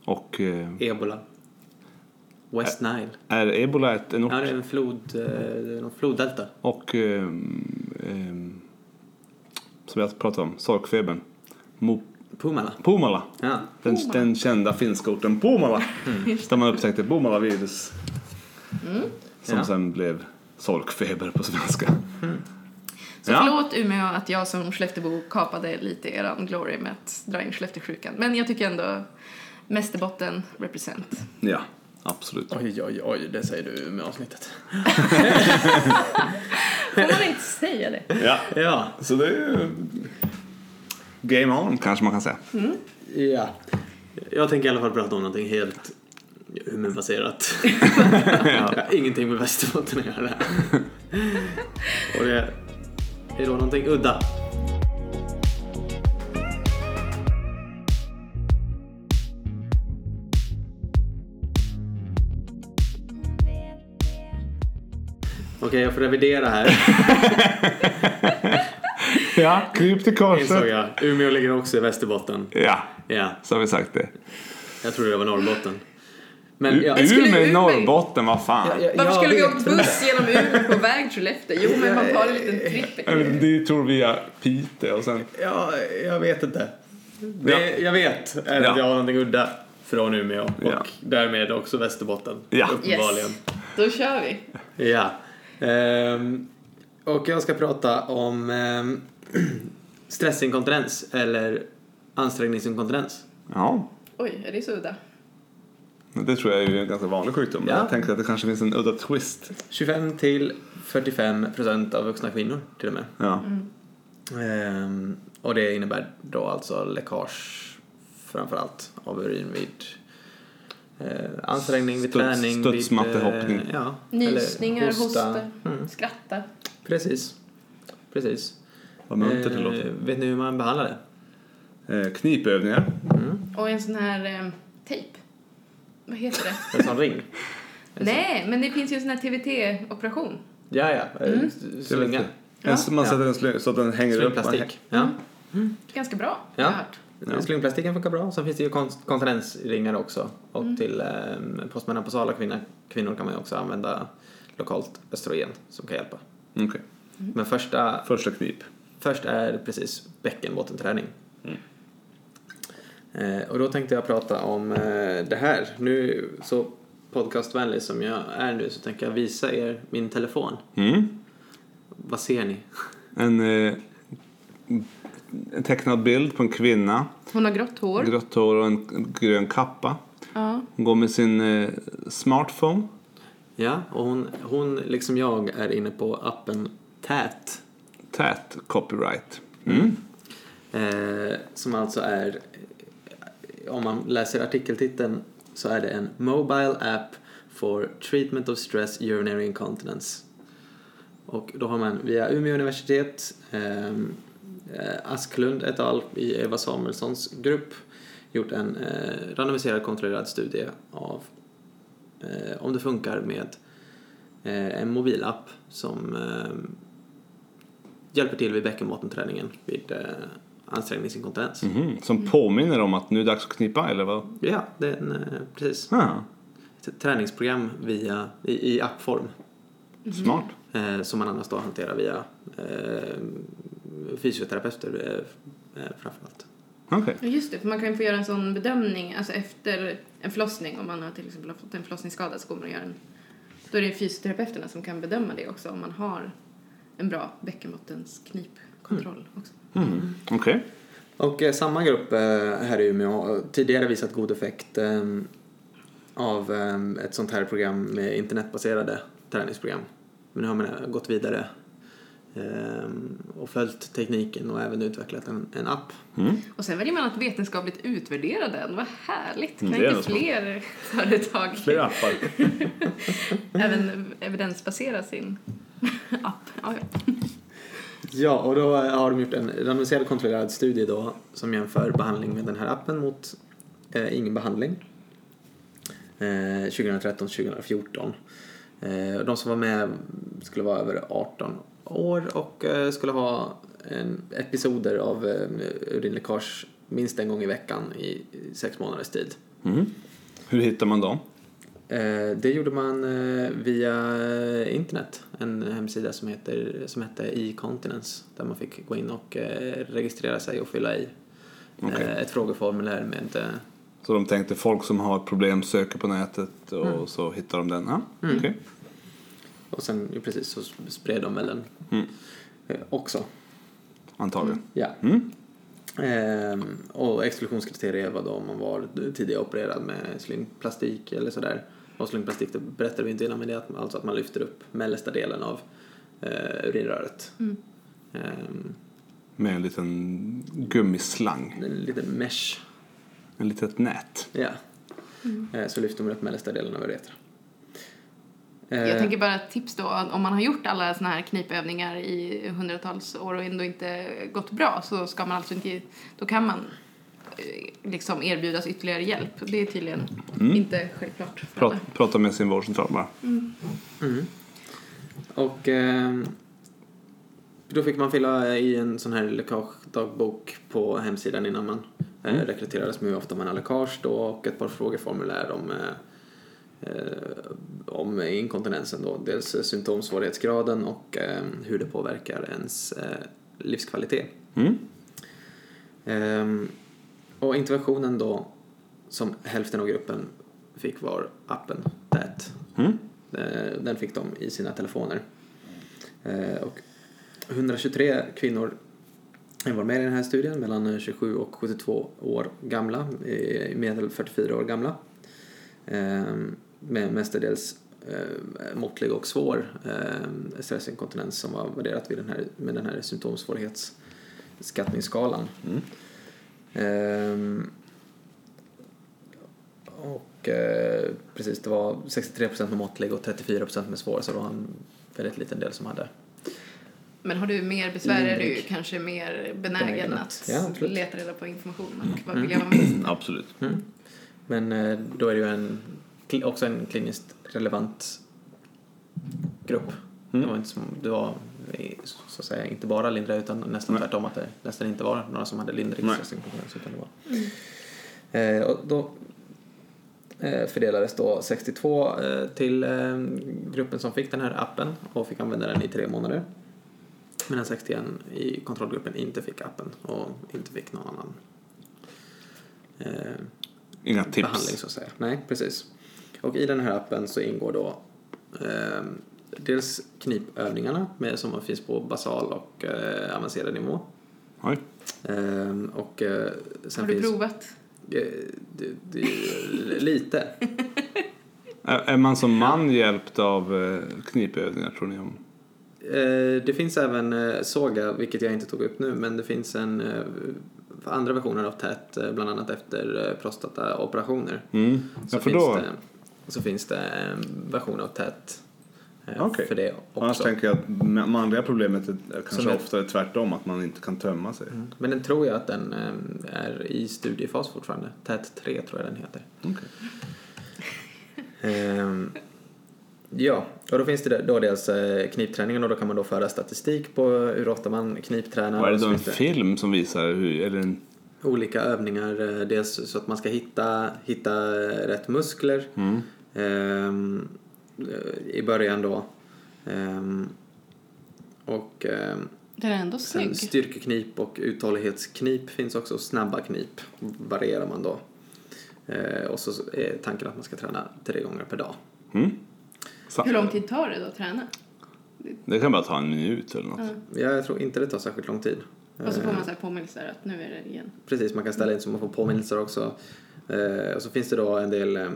[SPEAKER 1] Och eh,
[SPEAKER 2] ebola, West Nile.
[SPEAKER 1] är ebola ett, en ort?
[SPEAKER 2] Ja, det är en flod, eh, det är någon floddelta.
[SPEAKER 1] Och ehm, ehm, som jag pratade om, sorkfebern. Mo-
[SPEAKER 2] Pumala.
[SPEAKER 1] Pumala.
[SPEAKER 2] Ja.
[SPEAKER 1] Den,
[SPEAKER 3] Pumala.
[SPEAKER 1] den kända finska orten Pumala.
[SPEAKER 3] Mm.
[SPEAKER 1] Där man upptäckte Pumala-virus. Som
[SPEAKER 2] Ja. Mm.
[SPEAKER 1] sen blev sorkfeber på svenska.
[SPEAKER 3] Så
[SPEAKER 1] Ja.
[SPEAKER 3] förlåt Umeå att jag som Skelleftebo kapade lite eran glory med att dra in Skellefteåsjukan. Men jag tycker ändå Mästerbotten represent.
[SPEAKER 1] Ja, absolut.
[SPEAKER 2] Oj, oj, oj, det säger du med avsnittet.
[SPEAKER 3] Får man inte säga det?
[SPEAKER 1] Ja,
[SPEAKER 2] Ja.
[SPEAKER 1] så det är ju... Game on kanske man kan säga.
[SPEAKER 3] Mm.
[SPEAKER 2] Ja. Jag tänker i alla fall prata om någonting helt humanbaserat. ja. Ingenting med Västerbotten att göra. Och det är då någonting udda. Okej, jag får revidera här,
[SPEAKER 1] Ja, kryp till
[SPEAKER 2] insåg jag. Umeå ligger också i Västerbotten.
[SPEAKER 1] Ja,
[SPEAKER 2] Ja,
[SPEAKER 1] så har vi sagt det.
[SPEAKER 2] jag trodde det var Norrbotten. Men
[SPEAKER 1] U-
[SPEAKER 2] jag-
[SPEAKER 3] skulle
[SPEAKER 1] Umeå i
[SPEAKER 3] Umeå-
[SPEAKER 1] Norrbotten, vad fan.
[SPEAKER 2] Jag-
[SPEAKER 3] Varför
[SPEAKER 2] jag
[SPEAKER 3] skulle vi
[SPEAKER 2] vet,
[SPEAKER 3] åkt
[SPEAKER 2] men-
[SPEAKER 3] buss genom Umeå på väg till Skellefteå? Jo, men man tar en liten
[SPEAKER 1] Jag
[SPEAKER 3] trippel.
[SPEAKER 1] vet inte, Det tror vi är Piteå och sen...
[SPEAKER 2] Ja, jag vet inte. Det,
[SPEAKER 1] Ja.
[SPEAKER 2] Jag vet är
[SPEAKER 1] Ja.
[SPEAKER 2] att jag har någonting udda från Umeå och
[SPEAKER 1] Ja.
[SPEAKER 2] därmed också Västerbotten.
[SPEAKER 1] Ja.
[SPEAKER 2] Uppenbarligen.
[SPEAKER 3] Yes, då kör vi.
[SPEAKER 2] Ja. Ehm, och jag ska prata om ehm, stressinkontinens eller ansträngningsinkontinens.
[SPEAKER 1] Ja,
[SPEAKER 3] Oj, är det så udda?
[SPEAKER 1] men det tror jag är en ganska vanlig sjukdom. Men
[SPEAKER 2] Ja.
[SPEAKER 1] Jag tänkte att det kanske finns en udda twist.
[SPEAKER 2] 25 till 45 procent av vuxna kvinnor till och med.
[SPEAKER 1] Ja.
[SPEAKER 2] Ehm, och det innebär då alltså läckage framför allt av urin vid eh, ansträngning, vid
[SPEAKER 1] Studs-
[SPEAKER 2] träning,
[SPEAKER 1] studsmattehoppning.
[SPEAKER 2] vid... Eh, ja,
[SPEAKER 3] Nysningar,
[SPEAKER 2] eller
[SPEAKER 3] hosta,
[SPEAKER 2] Mm,
[SPEAKER 3] skratta.
[SPEAKER 2] precis. Precis.
[SPEAKER 1] Vad muntert det låter.
[SPEAKER 2] Eh, vet ni hur man behandlar det? Mm.
[SPEAKER 1] Eh, knipövningar.
[SPEAKER 3] Och en sån här eh, tejp. Vad heter det?
[SPEAKER 2] En sån ring?
[SPEAKER 3] Nej, men det finns ju en sån här TVT-operation.
[SPEAKER 2] Ja, ja. Mm. Slinga.
[SPEAKER 1] En, man
[SPEAKER 2] Ja.
[SPEAKER 1] sätter en slyng så att den hänger upp.
[SPEAKER 2] Slingplastik. Ja.
[SPEAKER 3] Ganska bra,
[SPEAKER 2] Ja.
[SPEAKER 3] har jag hört.
[SPEAKER 1] Ja.
[SPEAKER 2] Slingplastiken funkar bra. Sen finns det ju kon- kontinensringar också. Och till eh, postmenopausala kvinnor, kvinnor kan man ju också använda lokalt östrogen som kan hjälpa.
[SPEAKER 1] Okej.
[SPEAKER 2] Men första,
[SPEAKER 1] Första knip.
[SPEAKER 2] först är precis bäckenbottenträning. Eh, och då tänkte jag prata om eh, det här. Nu så podcastvänlig som jag är nu så tänker jag visa er min telefon.
[SPEAKER 1] Mm.
[SPEAKER 2] Vad ser ni?
[SPEAKER 1] En, eh, en tecknad bild på en kvinna.
[SPEAKER 3] Hon har grått hår.
[SPEAKER 1] Grått hår och en grön kappa.
[SPEAKER 3] Ja.
[SPEAKER 1] Hon går med sin eh, smartphone.
[SPEAKER 2] Ja, och hon, hon liksom jag är inne på appen Tät.
[SPEAKER 1] Tät copyright. Mm.
[SPEAKER 2] Eh, som alltså är, eh, om man läser artikeltiteln så är det en Mobile App for Treatment of Stress Urinary Incontinence. Och då har man via Umeå universitet, ehm, eh, Asklund et al. i Eva Samuelssons grupp gjort en eh, randomiserad kontrollerad studie av eh, om det funkar med eh, en mobilapp som eh, hjälper till vid bäckenbottenträningen vid eh, ansträngningsinkompetens.
[SPEAKER 1] Mhm,
[SPEAKER 2] Mm.
[SPEAKER 1] Som påminner om att nu är det dags att knipa eller vad?
[SPEAKER 2] Ja, det är en, eh, precis.
[SPEAKER 1] Ah,
[SPEAKER 2] Ett träningsprogram via, i, i appform
[SPEAKER 1] Smart.
[SPEAKER 2] eh, som man annars då hanterar via eh, fysioterapeuter eh, eh, framförallt.
[SPEAKER 1] Okej.
[SPEAKER 3] Ja, Just det, för man kan ju få göra en sån bedömning alltså efter en förlossning. Om man har till exempel har fått en förlossningsskada så går man och gör en... Då är det fysioterapeuterna som kan bedöma det också om man har en bra bäckenbottensknipkontroll också.
[SPEAKER 1] Mm. Okej.
[SPEAKER 2] Och eh, samma grupp eh, här i Umeå har tidigare visat god effekt eh, av eh, ett sånt här program med internetbaserade träningsprogram. Men nu har man eh, gått vidare eh, och följt tekniken och även utvecklat en, en app.
[SPEAKER 1] Mm.
[SPEAKER 3] Och sen väljer man att vetenskapligt utvärdera den. Vad härligt! Kan
[SPEAKER 1] Mm, det är
[SPEAKER 3] inte
[SPEAKER 1] något smart.
[SPEAKER 3] fler företag
[SPEAKER 1] Fler appar.
[SPEAKER 3] även evidensbasera sin app? Ja, ja.
[SPEAKER 2] Ja, och då eh, har de gjort en randomiserad kontrollerad studie då som jämför behandling med den här appen mot eh, ingen behandling. Eh, 2013-2014. Eh, och de som var med skulle vara över 18 år och eh, skulle ha en episoder av eh, urinläckage minst en gång i veckan i i sex månaders tid.
[SPEAKER 1] Mm. Hur hittar man dem?
[SPEAKER 2] Eh, Det gjorde man eh, via eh, internet, en hemsida som, heter, som hette e-continence där man fick gå in och eh, registrera sig och fylla i eh,
[SPEAKER 1] Okej.
[SPEAKER 2] ett frågeformulär med eh,
[SPEAKER 1] Så de tänkte folk som har problem söker på nätet och
[SPEAKER 2] Mm.
[SPEAKER 1] så hittar de den. Ja, okej.
[SPEAKER 2] och sen ju precis så spred de väl den
[SPEAKER 1] Mm.
[SPEAKER 2] eh, också.
[SPEAKER 1] Antagligen.
[SPEAKER 2] Ja.
[SPEAKER 1] Mm.
[SPEAKER 2] Ehm, och exklusionskriterier var då om man var tidigare opererad med slyngplastik eller sådär. Och slyngplastik, det berättade vi inte innan, men det är att, alltså att man lyfter upp mellersta delen av eh, urinröret.
[SPEAKER 3] Mm.
[SPEAKER 2] Ehm,
[SPEAKER 1] Med en liten gummislang.
[SPEAKER 2] en liten mesh.
[SPEAKER 1] En litet nät.
[SPEAKER 2] Ja.
[SPEAKER 3] Mm.
[SPEAKER 2] Eh, Så lyfter man upp mellersta delen av uretra. Eh,
[SPEAKER 3] Jag tänker bara ett tips då, om man har gjort alla såna här knipövningar i hundratals år och ändå inte gått bra så ska man alltså inte, då kan man eh, liksom erbjudas ytterligare hjälp. Det är tydligen inte självklart för alla.
[SPEAKER 1] Prata, prata med sin vårdcentral bara.
[SPEAKER 2] Mm. Och ehm, då fick man fylla i en sån här läckagedagbok på hemsidan innan man eh,
[SPEAKER 3] Mm.
[SPEAKER 2] rekryterades med hur ofta man har läckage då och ett par frågeformulär om, eh, eh, om inkontinensen då. Dels eh, symptomsvårighetsgraden och ehm, hur det påverkar ens eh, livskvalitet.
[SPEAKER 1] Mm.
[SPEAKER 2] Ehm, och interventionen då som hälften av gruppen fick var appen Tät.
[SPEAKER 1] Mm.
[SPEAKER 2] Eh, Den fick de i sina telefoner. Eh, Och 123 kvinnor var med i den här studien, mellan 27 och 72 år gamla, eh, i medel 44 år gamla. Eh, Med mestadels eh, måttlig och svår eh, stressinkontinens som var värderat vid den här, med den här symptomsvårighetsskattningsskalan. Ehm, och eh, precis, det var 63% med måttlig och 34% med svår, så det var en väldigt liten del som hade.
[SPEAKER 3] Men har du mer besvär är du ju
[SPEAKER 2] Lindrig.
[SPEAKER 3] kanske mer benägen
[SPEAKER 2] Benägen
[SPEAKER 3] att
[SPEAKER 2] att- ja, absolut. Mm.
[SPEAKER 3] leta reda på information och vad vill jag vara med
[SPEAKER 1] Absolut.
[SPEAKER 2] Men eh, då är det ju en, kli- också en kliniskt relevant grupp. Det var, inte som, det var eh, så att säga, inte bara lindriga utan nästan tvärtom att det nästan inte var några som hade lindrig
[SPEAKER 1] Nej.
[SPEAKER 2] stressinkontinens utan det var. Eh, och då eh, fördelades då 62 eh, till eh, gruppen som fick den här appen och fick använda den i tre månader. Medan 61 i kontrollgruppen inte fick appen och inte fick någon annan eh,
[SPEAKER 1] Inga tips.
[SPEAKER 2] behandling så att säga. Nej, precis. Och i den här appen så ingår då ehm, dels knipövningarna med, som finns på basal och eh, avancerad nivå.
[SPEAKER 1] Oj.
[SPEAKER 2] Ehm, och eh,
[SPEAKER 3] om?
[SPEAKER 2] sen
[SPEAKER 3] Har du
[SPEAKER 2] finns...
[SPEAKER 3] provat?
[SPEAKER 2] eh, det, det, lite.
[SPEAKER 1] Är, är man som man hjälpt av eh, knipövningar tror ni? Om?
[SPEAKER 2] Eh, det finns även eh, Soga, vilket jag inte tog upp nu, men det finns en eh, andra versioner av TÄT, eh, bland annat efter eh, prostataoperationer.
[SPEAKER 1] Mm.
[SPEAKER 2] Så,
[SPEAKER 1] Ja, för
[SPEAKER 2] finns
[SPEAKER 1] då,
[SPEAKER 2] det, så finns det en version av TÄT eh,
[SPEAKER 1] Okej.
[SPEAKER 2] för det
[SPEAKER 1] annars
[SPEAKER 2] också.
[SPEAKER 1] tänker jag att ma- manliga problemet är är kanske
[SPEAKER 2] Som är-
[SPEAKER 1] oftare tvärtom, att man inte kan tömma sig.
[SPEAKER 2] Men den tror jag att den eh, är i studiefas fortfarande. TÄT 3 tror jag den heter.
[SPEAKER 1] Okej.
[SPEAKER 2] Ehm, Ja, och då finns det då dels eh, knipträningen och då kan man då föra statistik på hur ofta man kniptränar.
[SPEAKER 1] Var det
[SPEAKER 2] Och så
[SPEAKER 1] då en
[SPEAKER 2] finns det
[SPEAKER 1] film som visar hur, eller en,
[SPEAKER 2] Olika övningar, eh, dels så att man ska hitta, hitta eh, rätt muskler ehm, eh, i början då. Ehm, och ehm,
[SPEAKER 3] Den är ändå
[SPEAKER 2] sen
[SPEAKER 3] snygg.
[SPEAKER 2] styrkeknip och uthållighetsknip finns också och snabba knip varierar man då. Eh, och så är tanken att man ska träna tre gånger per dag.
[SPEAKER 1] mm? Sa-
[SPEAKER 3] Hur lång tid tar det då att träna?
[SPEAKER 1] Det kan bara ta en minut eller något.
[SPEAKER 3] Mm.
[SPEAKER 2] Ja, jag tror inte det tar särskilt lång tid.
[SPEAKER 3] Och så
[SPEAKER 2] Eh,
[SPEAKER 3] får man så här påminnelser att nu är det igen.
[SPEAKER 2] Precis, man kan ställa in så man får påminnelser också. Eh, och så finns det då en del em,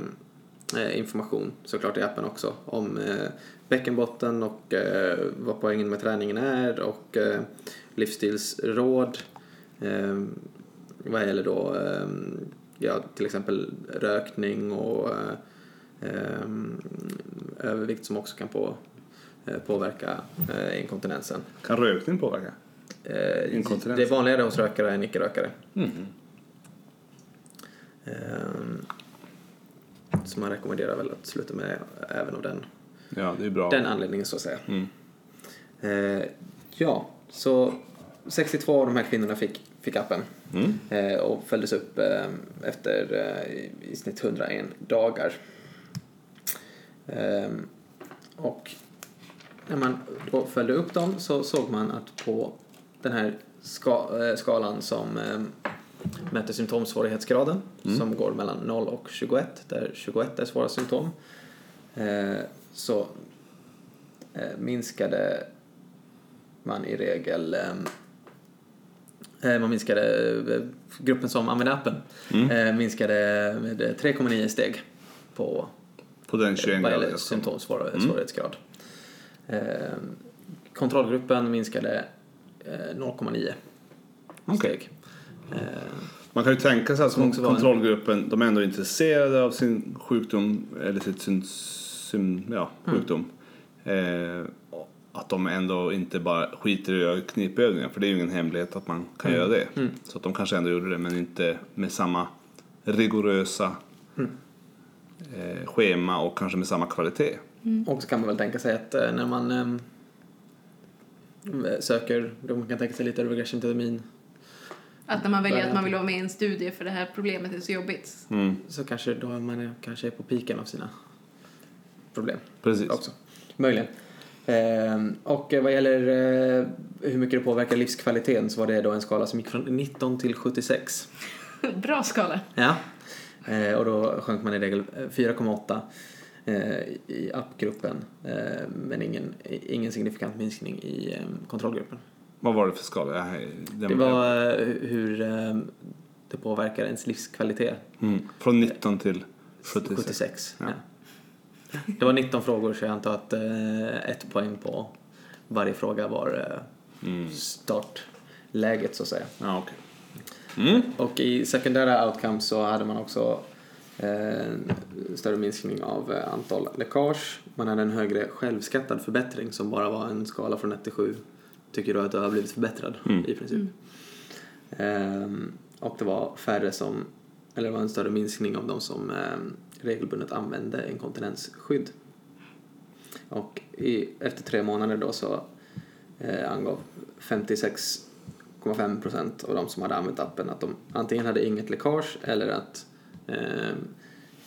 [SPEAKER 2] eh, information såklart i appen också om eh, bäckenbotten och eh, vad poängen med träningen är och eh, livsstilsråd. Eh, vad gäller då eh, ja, till exempel rökning och eh, em, övervikt som också kan på, eh, påverka eh, inkontinensen.
[SPEAKER 1] Kan rökning påverka?
[SPEAKER 2] Eh,
[SPEAKER 1] Inkontinens. Mm.
[SPEAKER 2] Det är vanligare hos rökare än icke-rökare. Ehm, Så man rekommenderar väl att sluta med det även av den,
[SPEAKER 1] Ja, det är bra. Mm.
[SPEAKER 2] den anledningen så att säga. Eh, ja, så 62 av de här kvinnorna fick, fick appen eh, och följdes upp eh, efter eh, i, i snitt 101 dagar. Ehm, och när man då följde upp dem så såg man att på den här ska, eh, skalan som eh, mäter symptomsvårighetsgraden som går mellan 0 och 21 där 21 är svåra symptom eh, så eh, minskade man i regel ehm, eh, eh, man minskade eh, gruppen som använde appen
[SPEAKER 1] Mm.
[SPEAKER 2] eh, minskade med eh, 3,9 steg på eh,
[SPEAKER 1] På den 21
[SPEAKER 2] vad gäller
[SPEAKER 1] graden.
[SPEAKER 2] symptomsvår- svårighetsgrad. Eh, kontrollgruppen minskade eh, 0,9 steg. Eh,
[SPEAKER 1] Man kan ju tänka sig att
[SPEAKER 2] Som också var en-
[SPEAKER 1] kontrollgruppen, de är ändå intresserade av sin sjukdom, eller sitt sin, sin, ja,
[SPEAKER 2] Mm.
[SPEAKER 1] sjukdom. Eh, och att de ändå inte bara skiter i att göra knipövningar, för det är ju ingen hemlighet att man kan
[SPEAKER 2] Mm.
[SPEAKER 1] göra det. Så att de kanske ändå gjorde det, men inte med samma rigorösa
[SPEAKER 2] Mm.
[SPEAKER 1] eh, schema och kanske med samma kvalitet.
[SPEAKER 2] Och så kan man väl tänka sig att eh, när man ehm, söker, då man kan tänka sig lite regression to the mean,
[SPEAKER 3] Att när man väljer att man vill vara med i en studie för det här problemet är så jobbigt.
[SPEAKER 2] så kanske då är man eh, kanske är på piken av sina problem.
[SPEAKER 1] Precis.
[SPEAKER 2] också. Möjligen. Ehm, och eh, vad gäller eh, hur mycket det påverkar livskvaliteten så var det då en skala som gick från 19 till 76.
[SPEAKER 3] Bra skala.
[SPEAKER 2] Ja. Eh, och då sjönk man i regel eh, 4,8 eh, i appgruppen. Eh, men ingen, ingen signifikant minskning i eh, kontrollgruppen.
[SPEAKER 1] Vad var det för skala? Det här- den
[SPEAKER 2] Det var eh, hur eh, det påverkar ens livskvalitet.
[SPEAKER 1] mm. Från 19 till 76.
[SPEAKER 2] 76.
[SPEAKER 1] Ja.
[SPEAKER 2] Ja. Det var 19 frågor så jag antar att eh, ett poäng på varje fråga var eh, startläget så att säga.
[SPEAKER 1] Mm. Ja, okej. Mm.
[SPEAKER 2] Och i sekundära outcomes så hade man också eh, en större minskning av eh, antal läckage. Man hade en högre självskattad förbättring som bara var en skala från 1 till 7. Tycker du att du har blivit förbättrad
[SPEAKER 1] Mm.
[SPEAKER 2] i princip?
[SPEAKER 3] Mm.
[SPEAKER 2] Ehm, och det var färre som, eller det var en större minskning av de som ehm, regelbundet använde inkontinensskydd. Och i, efter tre månader då så eh, angav 56,5 procent av de som hade använt appen att de antingen hade inget läckage eller att eh,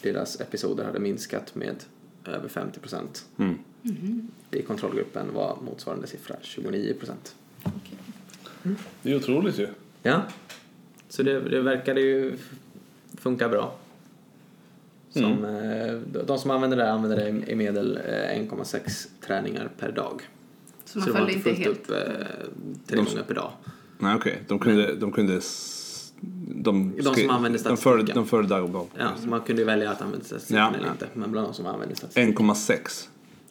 [SPEAKER 2] deras episoder hade minskat med över 50 procent.
[SPEAKER 1] Mm.
[SPEAKER 3] Mm-hmm.
[SPEAKER 2] I kontrollgruppen var motsvarande siffra 29 procent.
[SPEAKER 1] Det är otroligt ju.
[SPEAKER 2] Ja, så det, det verkade ju funka bra.
[SPEAKER 3] Mm.
[SPEAKER 2] Som, eh, de som använder det använder det i medel eh, 1,6 träningar per dag.
[SPEAKER 3] Så man
[SPEAKER 2] det
[SPEAKER 3] följde inte
[SPEAKER 2] fullt
[SPEAKER 3] helt.
[SPEAKER 2] upp eh,
[SPEAKER 1] De-
[SPEAKER 2] tre gånger per dag.
[SPEAKER 1] Nej, okej. De kunde... De, kunde s- de,
[SPEAKER 2] Mm. De som
[SPEAKER 1] skri-
[SPEAKER 2] använde
[SPEAKER 1] De förde,
[SPEAKER 2] statistiken.
[SPEAKER 1] de förde Dagobah.
[SPEAKER 2] Ja, så man kunde ju välja att använda statistiken
[SPEAKER 1] Ja.
[SPEAKER 2] eller inte. Men bland de som använder statistiken.
[SPEAKER 1] 1,6.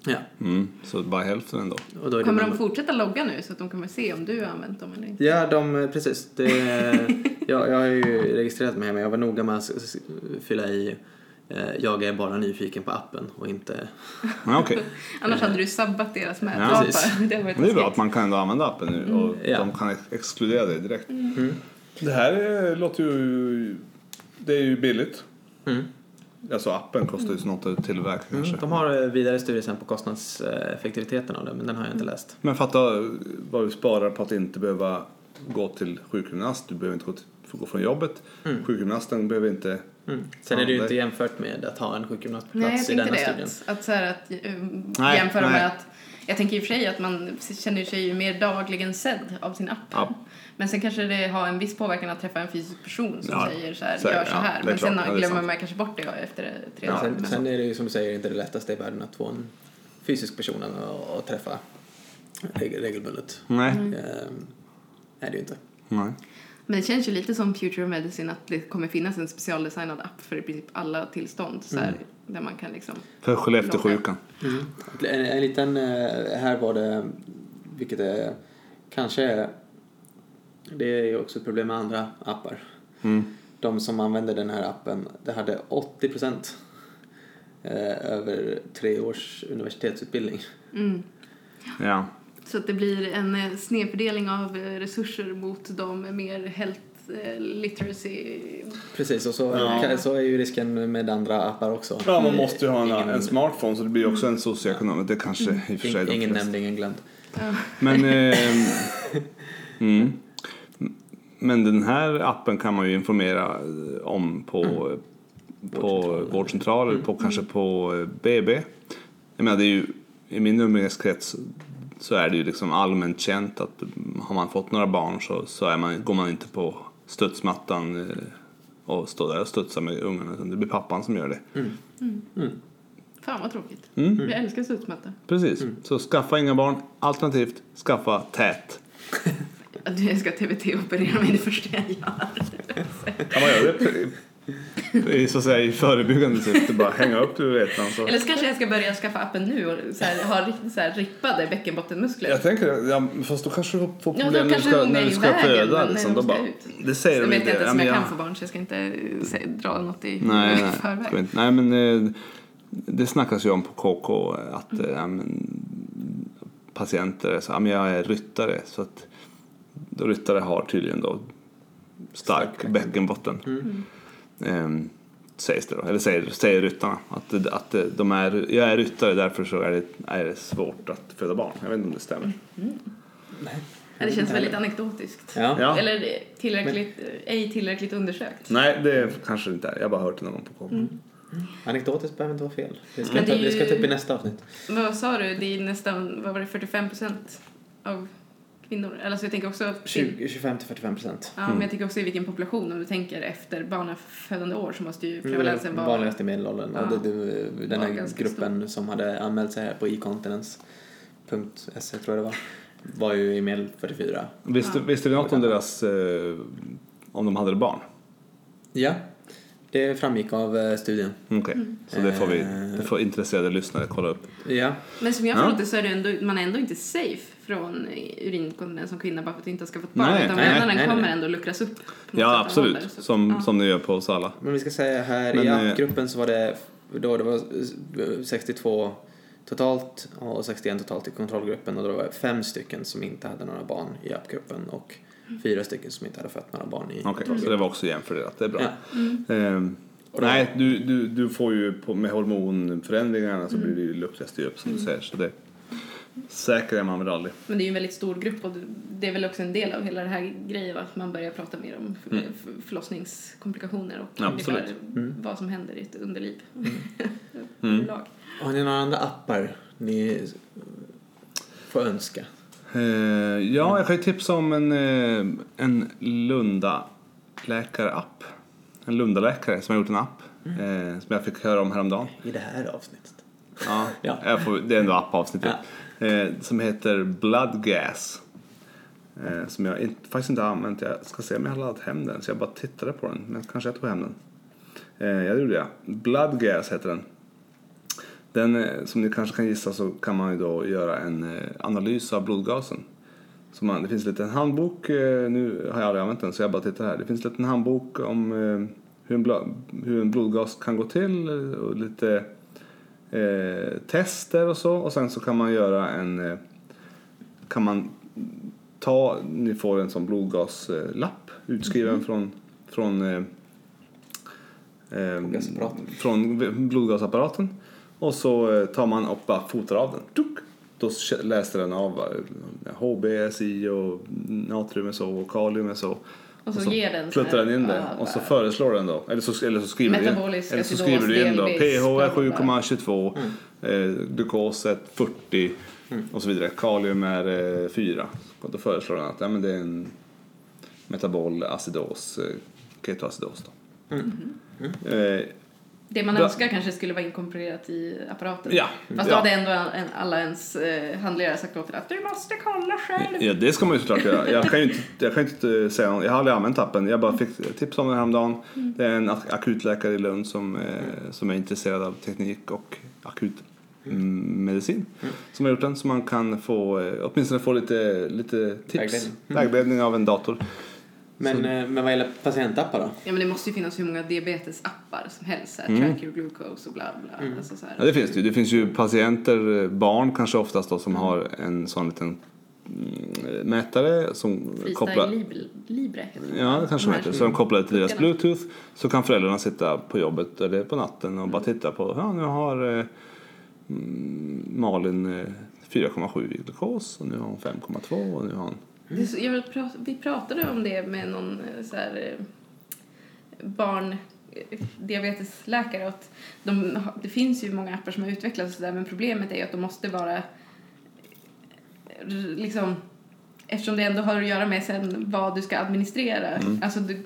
[SPEAKER 2] Ja.
[SPEAKER 1] Mm. Så bara hälften ändå.
[SPEAKER 2] Och då är det
[SPEAKER 3] Kommer
[SPEAKER 2] man-
[SPEAKER 3] de fortsätta logga nu så att de kommer se om du har använt dem eller inte?
[SPEAKER 2] Ja, de, eh, precis. Det, jag, jag har ju registrerat mig här, men jag var noga med att s- s- fylla i eh, jag är bara nyfiken på appen och inte...
[SPEAKER 1] Ja, okej.
[SPEAKER 3] Annars hade du sabbat deras
[SPEAKER 1] Ja,
[SPEAKER 3] mätapar.
[SPEAKER 2] precis.
[SPEAKER 3] det, har varit
[SPEAKER 1] Men Det är bra
[SPEAKER 3] läskigt.
[SPEAKER 1] att man kan ändå använda appen nu och
[SPEAKER 2] Mm, ja. Mm.
[SPEAKER 1] de kan ex- exkludera det direkt. eh, Det här är, låter ju... Det är ju billigt.
[SPEAKER 2] Mm.
[SPEAKER 1] Alltså appen kostar ju snart ett till verk kanske.
[SPEAKER 2] Mm, de har eh, vidare studier sen på kostnadseffektiviteten av det, men den har jag inte läst.
[SPEAKER 1] Men fatta eh, vad du sparar på att inte behöva gå till sjukgymnast. Du behöver inte gå, till, gå från jobbet.
[SPEAKER 2] Mm.
[SPEAKER 1] Sjukgymnasten behöver inte...
[SPEAKER 2] Mm. Sen
[SPEAKER 1] Ja,
[SPEAKER 2] är det ju
[SPEAKER 1] det-
[SPEAKER 2] inte jämfört med att ha en sjukgymnast på
[SPEAKER 3] Nej, jag
[SPEAKER 2] plats i
[SPEAKER 3] tänkte
[SPEAKER 2] denna
[SPEAKER 3] det.
[SPEAKER 2] studien.
[SPEAKER 3] Att, att, så här, att eh,
[SPEAKER 1] Nej,
[SPEAKER 3] jämföra
[SPEAKER 1] nej.
[SPEAKER 3] med att jag tänker i och för sig att man känner sig ju mer dagligen sedd av sin app.
[SPEAKER 1] Ja.
[SPEAKER 3] Men sen kanske det har en viss påverkan att träffa en fysisk person som
[SPEAKER 1] Ja,
[SPEAKER 3] säger så här,
[SPEAKER 1] säkert,
[SPEAKER 3] gör så
[SPEAKER 1] ja,
[SPEAKER 3] här.
[SPEAKER 1] det är
[SPEAKER 3] men
[SPEAKER 1] klart,
[SPEAKER 3] sen
[SPEAKER 1] ja, det är
[SPEAKER 3] glömmer
[SPEAKER 1] sant.
[SPEAKER 3] man kanske bort det efter tre
[SPEAKER 2] Ja,
[SPEAKER 3] dagar.
[SPEAKER 2] sen,
[SPEAKER 3] Men-
[SPEAKER 2] sen är det ju som du säger inte det lättaste i världen att få en fysisk person att, att träffa reg- regelbundet.
[SPEAKER 1] Nej.
[SPEAKER 2] Ehm, nej, det är ju inte.
[SPEAKER 1] Nej.
[SPEAKER 3] Men det känns ju lite som Future of Medicine att det kommer finnas en specialdesignad app för i princip alla tillstånd. Så här,
[SPEAKER 1] Mm.
[SPEAKER 3] Där man kan liksom...
[SPEAKER 1] För Skellefteåsjukan.
[SPEAKER 2] Mm. En, en liten, eh, här var det, vilket är kanske, är- det är ju också ett problem med andra appar.
[SPEAKER 1] Mm.
[SPEAKER 2] De som använde den här appen, det hade 80 procent eh, över tre års universitetsutbildning.
[SPEAKER 3] Mm.
[SPEAKER 1] Ja.
[SPEAKER 3] Så att det blir en eh, snedfördelning av eh, resurser mot de mer health eh, literacy...
[SPEAKER 2] Precis, och så,
[SPEAKER 1] Ja.
[SPEAKER 2] så är ju risken med andra appar också.
[SPEAKER 1] Ja, man måste ju ha en,
[SPEAKER 2] Ingen-
[SPEAKER 1] en smartphone så det blir också en socioekonom. Det kanske i och för sig
[SPEAKER 2] Ing-
[SPEAKER 1] de
[SPEAKER 2] Ingen
[SPEAKER 1] flesta-
[SPEAKER 2] nämnd, ingen glömd.
[SPEAKER 3] Ja.
[SPEAKER 1] Men, ehm, mm. Men den här appen kan man ju informera eh, om på, på
[SPEAKER 2] Vårdcentralen.
[SPEAKER 1] vårdcentraler, på, kanske på eh, BB. Jag menar, det är ju, I min umgängeskrets så är det ju liksom allmänt känt att mm, har man fått några barn så, så är man, går man inte på studsmattan eh, och står där och studsar med ungarna utan det blir pappan som gör det.
[SPEAKER 3] Fan vad tråkigt.
[SPEAKER 1] Mm.
[SPEAKER 3] Jag älskar studsmatta.
[SPEAKER 1] Precis, så skaffa inga barn alternativt skaffa tät.
[SPEAKER 3] Att Jag ska TBT-operera mig det första jag gör.
[SPEAKER 1] Ja, man gör det i, så att säga, i förebyggande syfte. Bara hänga upp uretran. Så.
[SPEAKER 3] Eller så kanske jag ska börja skaffa appen nu och så här, ha riktigt så här rippade bäckenbottenmuskler.
[SPEAKER 1] Jag tänker, ja, fast då kanske du får
[SPEAKER 3] Ja,
[SPEAKER 1] problem
[SPEAKER 3] då
[SPEAKER 1] när du
[SPEAKER 3] kanske
[SPEAKER 1] ska,
[SPEAKER 3] de
[SPEAKER 1] när
[SPEAKER 3] är
[SPEAKER 1] du
[SPEAKER 3] i
[SPEAKER 1] ska
[SPEAKER 3] vägen,
[SPEAKER 1] föda.
[SPEAKER 3] men när
[SPEAKER 1] Liksom,
[SPEAKER 3] de
[SPEAKER 1] då
[SPEAKER 3] ska
[SPEAKER 1] bara,
[SPEAKER 3] ut.
[SPEAKER 1] det säger
[SPEAKER 3] Jag
[SPEAKER 1] de
[SPEAKER 3] vet inte
[SPEAKER 1] inte.
[SPEAKER 3] ens
[SPEAKER 1] Ja,
[SPEAKER 3] om
[SPEAKER 1] men
[SPEAKER 3] jag
[SPEAKER 1] jag-
[SPEAKER 3] kan få barn så jag ska inte eh, sä- dra något i
[SPEAKER 1] Nej,
[SPEAKER 3] i
[SPEAKER 1] nej,
[SPEAKER 3] förväg.
[SPEAKER 1] ska vi inte- nej, men eh, det snackas ju om på KK att
[SPEAKER 3] Mm.
[SPEAKER 1] eh, ja, men, patienter är så, ja, men jag är ryttare. Så att, då ryttare har tydligen då stark, bäckenbotten.
[SPEAKER 3] Mm.
[SPEAKER 1] Ehm, sägs det då, eller säger, säger ryttarna. Att, det- att det- de är, jag är ryttare därför så är det, är det svårt att föda barn. Jag vet inte om det stämmer.
[SPEAKER 3] Mm. Ja, Det känns väldigt anekdotiskt.
[SPEAKER 2] Ja.
[SPEAKER 1] Ja.
[SPEAKER 3] Eller tillräckligt, ej tillräckligt undersökt.
[SPEAKER 1] Nej, det kanske det inte är. Jag har bara hört det någon gång på KK.
[SPEAKER 3] Mm.
[SPEAKER 2] Anekdotiskt behöver inte vara fel. Vi ska,
[SPEAKER 3] Men
[SPEAKER 2] ta,
[SPEAKER 3] det är
[SPEAKER 2] vi ska ta upp i
[SPEAKER 3] ju-
[SPEAKER 2] nästa avsnitt.
[SPEAKER 3] Men Vad sa du? Det är nästan, vad var det, 45 procent av kvinnor? Eller så jag tänker också...
[SPEAKER 2] 20, 25 till 45 procent.
[SPEAKER 3] Ja,
[SPEAKER 1] Mm.
[SPEAKER 3] men jag tänker också i vilken population, om du tänker efter barnafödande år så måste
[SPEAKER 2] Mm,
[SPEAKER 3] ju prevalensen vara...
[SPEAKER 2] Vanligast i medelåldern.
[SPEAKER 3] Ja.
[SPEAKER 2] Och det, det, den
[SPEAKER 3] Var
[SPEAKER 2] här
[SPEAKER 3] ganska
[SPEAKER 2] gruppen som hade anmält sig här på econtinence.se tror jag det var. Var ju i medel 44.
[SPEAKER 1] Visste, visste du något om deras, eh, om de hade barn?
[SPEAKER 2] Ja, det framgick av eh, studien.
[SPEAKER 1] Mm, Okej,
[SPEAKER 3] Mm.
[SPEAKER 1] så det får vi,
[SPEAKER 2] Eh.
[SPEAKER 1] det får intresserade lyssnare kolla upp.
[SPEAKER 2] Ja,
[SPEAKER 3] Men som jag
[SPEAKER 1] Ja.
[SPEAKER 3] förstått det så är det ändå, man är ändå inte safe från urinkontinens som kvinna bara för att du inte har skaffat barn.
[SPEAKER 1] Nej,
[SPEAKER 3] utan
[SPEAKER 2] nej,
[SPEAKER 3] vävnaden
[SPEAKER 2] nej, nej.
[SPEAKER 3] kommer ändå luckras upp. på något sätt
[SPEAKER 1] Ja,
[SPEAKER 3] och håller,
[SPEAKER 1] absolut.
[SPEAKER 3] så-
[SPEAKER 1] Som,
[SPEAKER 3] ja.
[SPEAKER 1] som ni gör på oss alla.
[SPEAKER 2] men vi ska säga här
[SPEAKER 1] Men,
[SPEAKER 2] i
[SPEAKER 1] eh,
[SPEAKER 2] appgruppen så var det, då det var eh, 62 totalt och 61 totalt i kontrollgruppen och då var det fem stycken som inte hade några barn i appgruppen och fyra stycken som inte hade fött några barn i
[SPEAKER 3] Mm.
[SPEAKER 1] Okej, så det var också jämfördelat. Det är bra.
[SPEAKER 2] Ja.
[SPEAKER 1] Ehm, nej, du, du, du får ju på, med hormonförändringarna så
[SPEAKER 3] Mm.
[SPEAKER 1] blir det ju luckras det ju upp som du säger. Så det, säker är man väl aldrig.
[SPEAKER 3] Men det är ju en väldigt stor grupp och det är väl också en del av hela den här grejen va? att man börjar prata mer om för- för- förlossningskomplikationer och
[SPEAKER 1] Ja,
[SPEAKER 3] ungefär
[SPEAKER 1] Mm. absolut. Mm.
[SPEAKER 3] vad som händer i ett underliv. Lag.
[SPEAKER 2] Har ni några andra appar ni får önska?
[SPEAKER 3] Mm.
[SPEAKER 1] Ehm, ja, jag kan ju tipsa om en, eh, en Lunda-läkare-app. En Lundaläkare som har gjort en app
[SPEAKER 3] Mm.
[SPEAKER 1] eh, som jag fick höra om häromdagen.
[SPEAKER 2] I det här avsnittet.
[SPEAKER 1] Ja,
[SPEAKER 2] Ja.
[SPEAKER 1] Jag får, det är ändå appavsnittet. Eh, som heter Blood Gas. Eh, som jag inte, faktiskt inte har använt. Jag ska se om jag har laddat hem den. Så jag bara tittade på den. Men kanske jag tog hem den. Eh, jag gjorde jag. Blood Gas heter den. Den, eh, som ni kanske kan gissa så kan man ju då göra en eh, analys av blodgasen. Så man, det finns en liten handbok, eh, nu har jag aldrig använt den så jag bara tittar här. Det finns en liten handbok om eh, hur, en bla, hur en blodgas kan gå till eh, och lite eh, tester och så. Och sen så kan man göra en... Eh, kan man ta, ni får en sån blodgaslapp utskriven från, från eh, eh,
[SPEAKER 2] Blodgasapparaten.
[SPEAKER 1] från blodgasapparaten. Och så eh, tar man och bara fotar av den. Tuk! Då kä- läser den av eh, HBSI och natrium är så och kalium är så.
[SPEAKER 3] Och så ger den så här,
[SPEAKER 1] pluttar den in det
[SPEAKER 3] ja,
[SPEAKER 1] och så föreslår den då. Eller så, eller så skriver du in,
[SPEAKER 3] Metabolisk
[SPEAKER 1] eller så
[SPEAKER 3] acidos,
[SPEAKER 1] skriver du in då.
[SPEAKER 3] DLBs,
[SPEAKER 1] pH är
[SPEAKER 3] bla, Mm. bla, bla.
[SPEAKER 1] 7,22. Eh, glukos är 40
[SPEAKER 3] Mm.
[SPEAKER 1] och så vidare. Kalium är eh, 4. Och då föreslår den att ja, men det är en metabol acidos, eh, ketoacidos då.
[SPEAKER 3] Mm.
[SPEAKER 1] Eh,
[SPEAKER 3] Det man
[SPEAKER 1] Bra.
[SPEAKER 3] önskar kanske skulle vara inkorporerat i apparaten.
[SPEAKER 1] Ja.
[SPEAKER 3] Fast
[SPEAKER 1] Ja.
[SPEAKER 3] då hade ändå en, en, alla ens eh, handledare sagt åt en att du måste kolla själv.
[SPEAKER 1] Ja, det ska man ju såklart göra. Jag kan ju inte, jag kan ju inte säga någon, Jag har aldrig använt appen. Jag bara fick tips om den häromdagen. Det är en ak- akutläkare i Lund som, eh, som är intresserad av teknik och akut mm, medicin som har gjort den. Så man kan få, eh, åtminstone få lite, lite tips.
[SPEAKER 2] Vägledning.
[SPEAKER 1] Vägledning. av en dator.
[SPEAKER 2] Men, eh, men vad gäller patientappar då?
[SPEAKER 3] Ja, men det måste ju finnas hur många diabetesappar som helst. Så här, Track your glucose och bla bla. Alltså, så här.
[SPEAKER 1] Mm. Ja, det finns det ju. Det finns ju patienter, eh, barn kanske oftast då, som har en sån liten mm, mätare som
[SPEAKER 3] Freestyle
[SPEAKER 1] kopplar
[SPEAKER 3] Libre, Libre heter det.
[SPEAKER 1] Ja, det kanske
[SPEAKER 3] De
[SPEAKER 1] de
[SPEAKER 3] här
[SPEAKER 1] heter.
[SPEAKER 3] som-
[SPEAKER 1] Så de kopplar det till deras
[SPEAKER 3] puckarna.
[SPEAKER 1] bluetooth. Så kan föräldrarna sitta på jobbet eller på natten och bara titta på. Ja, nu har eh, mm, Malin eh, 4,7 i glukos och nu har hon 5,2 och nu har hon...
[SPEAKER 3] Det är så, jag pra- vi pratade om det med någon eh, så här, eh, barn eh, diabetesläkare att de, har- det finns ju många appar som har utvecklats och så där, men problemet är att de måste vara eh, r- liksom eftersom det ändå har att göra med sen vad du ska administrera
[SPEAKER 1] Mm.
[SPEAKER 3] alltså du, eh,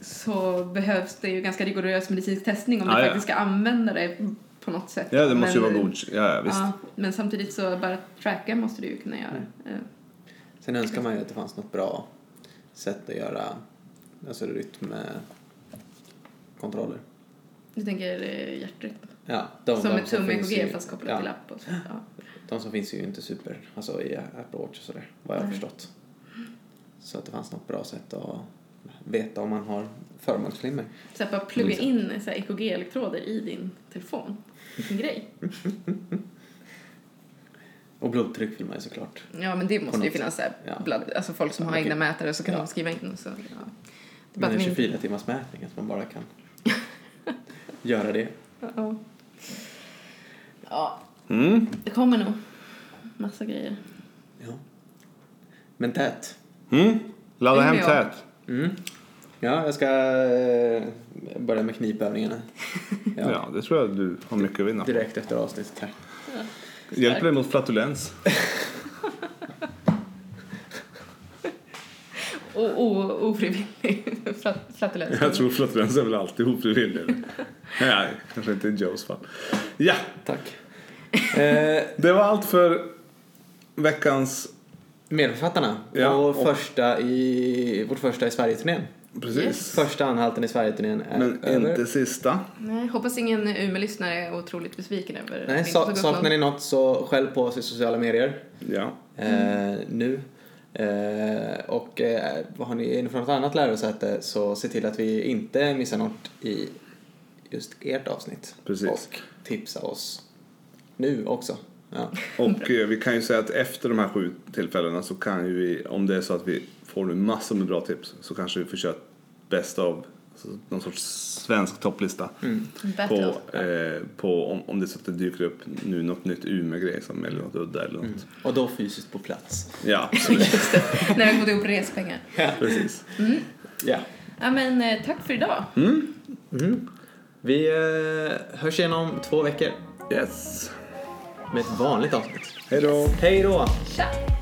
[SPEAKER 3] så behövs det ju ganska rigorös medicinsk testning om
[SPEAKER 1] Ja,
[SPEAKER 3] du
[SPEAKER 1] ja.
[SPEAKER 3] faktiskt ska använda det på något sätt
[SPEAKER 1] Ja, det måste ju
[SPEAKER 3] Men-
[SPEAKER 1] vara god... Ja, ja, visst. Mm.
[SPEAKER 3] ja, men samtidigt så bara tracka måste du ju kunna göra Eh,
[SPEAKER 2] Sen önskar man ju att det fanns något bra sätt att göra alltså rytmkontroller.
[SPEAKER 3] Du tänker eh, hjärtrytm?
[SPEAKER 2] Ja, de,
[SPEAKER 3] som
[SPEAKER 2] de
[SPEAKER 3] ett tum
[SPEAKER 2] finns
[SPEAKER 3] EKG
[SPEAKER 2] i-
[SPEAKER 3] fast kopplat
[SPEAKER 2] ja,
[SPEAKER 3] till app och så. Ja.
[SPEAKER 2] De som finns är ju inte super, alltså i Apple Watch och sådär, vad jag har
[SPEAKER 3] Nej.
[SPEAKER 2] förstått. Så att det fanns något bra sätt att veta om man har förmaksflimmer.
[SPEAKER 3] Så här, bara plugga in eh, så här EKG-elektroder i din telefon. Vilken grej.
[SPEAKER 2] Och blodtryck vill man ju såklart.
[SPEAKER 3] Ja men det måste ju
[SPEAKER 2] något
[SPEAKER 3] finnas så här,
[SPEAKER 2] Ja.
[SPEAKER 3] blood, alltså folk som
[SPEAKER 2] Ja,
[SPEAKER 3] har
[SPEAKER 2] okej.
[SPEAKER 3] egna mätare så kan
[SPEAKER 2] Ja.
[SPEAKER 3] de skriva in och så. Ja. Det är bara
[SPEAKER 2] Men en
[SPEAKER 3] att min-
[SPEAKER 2] 24 timmars mätning, att man bara kan göra det.
[SPEAKER 3] Ja. Ja,
[SPEAKER 1] Mm.
[SPEAKER 3] det kommer nog massa grejer.
[SPEAKER 2] Ja. Men tät.
[SPEAKER 1] Mm. Ladda hem
[SPEAKER 3] Umeå.
[SPEAKER 1] tät.
[SPEAKER 2] Mm. Ja, jag ska eh, börja med knipövningarna.
[SPEAKER 1] Ja.
[SPEAKER 2] Ja,
[SPEAKER 1] det tror jag du har mycket att vinna på.
[SPEAKER 2] direkt efter avsnittet här.
[SPEAKER 1] Hjälper det mot flatulens?
[SPEAKER 3] Och och ofrivillig flat- flatulens.
[SPEAKER 1] Jag tror flatulens är väl alltid ofrivillig. Nej, kanske inte i Joes fall. Ja,
[SPEAKER 2] Tack. Eh,
[SPEAKER 1] det var allt för veckans...
[SPEAKER 2] medförfattarna
[SPEAKER 1] Ja,
[SPEAKER 2] och,
[SPEAKER 1] och-
[SPEAKER 2] Första i, vårt första i Sverige-turnén.
[SPEAKER 1] Precis.
[SPEAKER 3] Yes.
[SPEAKER 2] Första anhalten i Sverige-turnén är
[SPEAKER 1] Men
[SPEAKER 2] över.
[SPEAKER 1] inte sista.
[SPEAKER 3] Nej, hoppas ingen Umeå-lyssnare är otroligt besviken över att vi
[SPEAKER 2] Nej,
[SPEAKER 3] inte
[SPEAKER 2] sa,
[SPEAKER 3] tog upp
[SPEAKER 2] saknar
[SPEAKER 3] någon.
[SPEAKER 2] ni något så skäll på oss i sociala medier
[SPEAKER 1] Ja.
[SPEAKER 2] eh, nu. Eh, och eh, vad har ni, är ni från något annat lärosäte så se till att vi inte missar något i just ert avsnitt.
[SPEAKER 1] Precis.
[SPEAKER 2] Och tipsa oss nu också. Ja.
[SPEAKER 1] Och eh, vi kan ju säga att efter de här sju tillfällena så kan ju vi, om det är så att vi får nu massor med bra tips så kanske vi får köra ett best of, alltså någon sorts svensk topplista.
[SPEAKER 3] Battle.
[SPEAKER 1] På, eh, på om, om det är så att det dyker upp nu något nytt Umeå-grej som eller något udda eller något.
[SPEAKER 2] Och då fysiskt på plats.
[SPEAKER 1] Ja,
[SPEAKER 3] Just det, när vi har fått ihop respengar.
[SPEAKER 1] precis.
[SPEAKER 2] Ja.
[SPEAKER 3] Ja men eh, tack för idag.
[SPEAKER 2] Vi eh, hörs igen om två veckor
[SPEAKER 1] Yes.
[SPEAKER 2] med ett vanligt avsnitt.
[SPEAKER 1] Hej då.
[SPEAKER 2] Hej då!
[SPEAKER 3] Tja!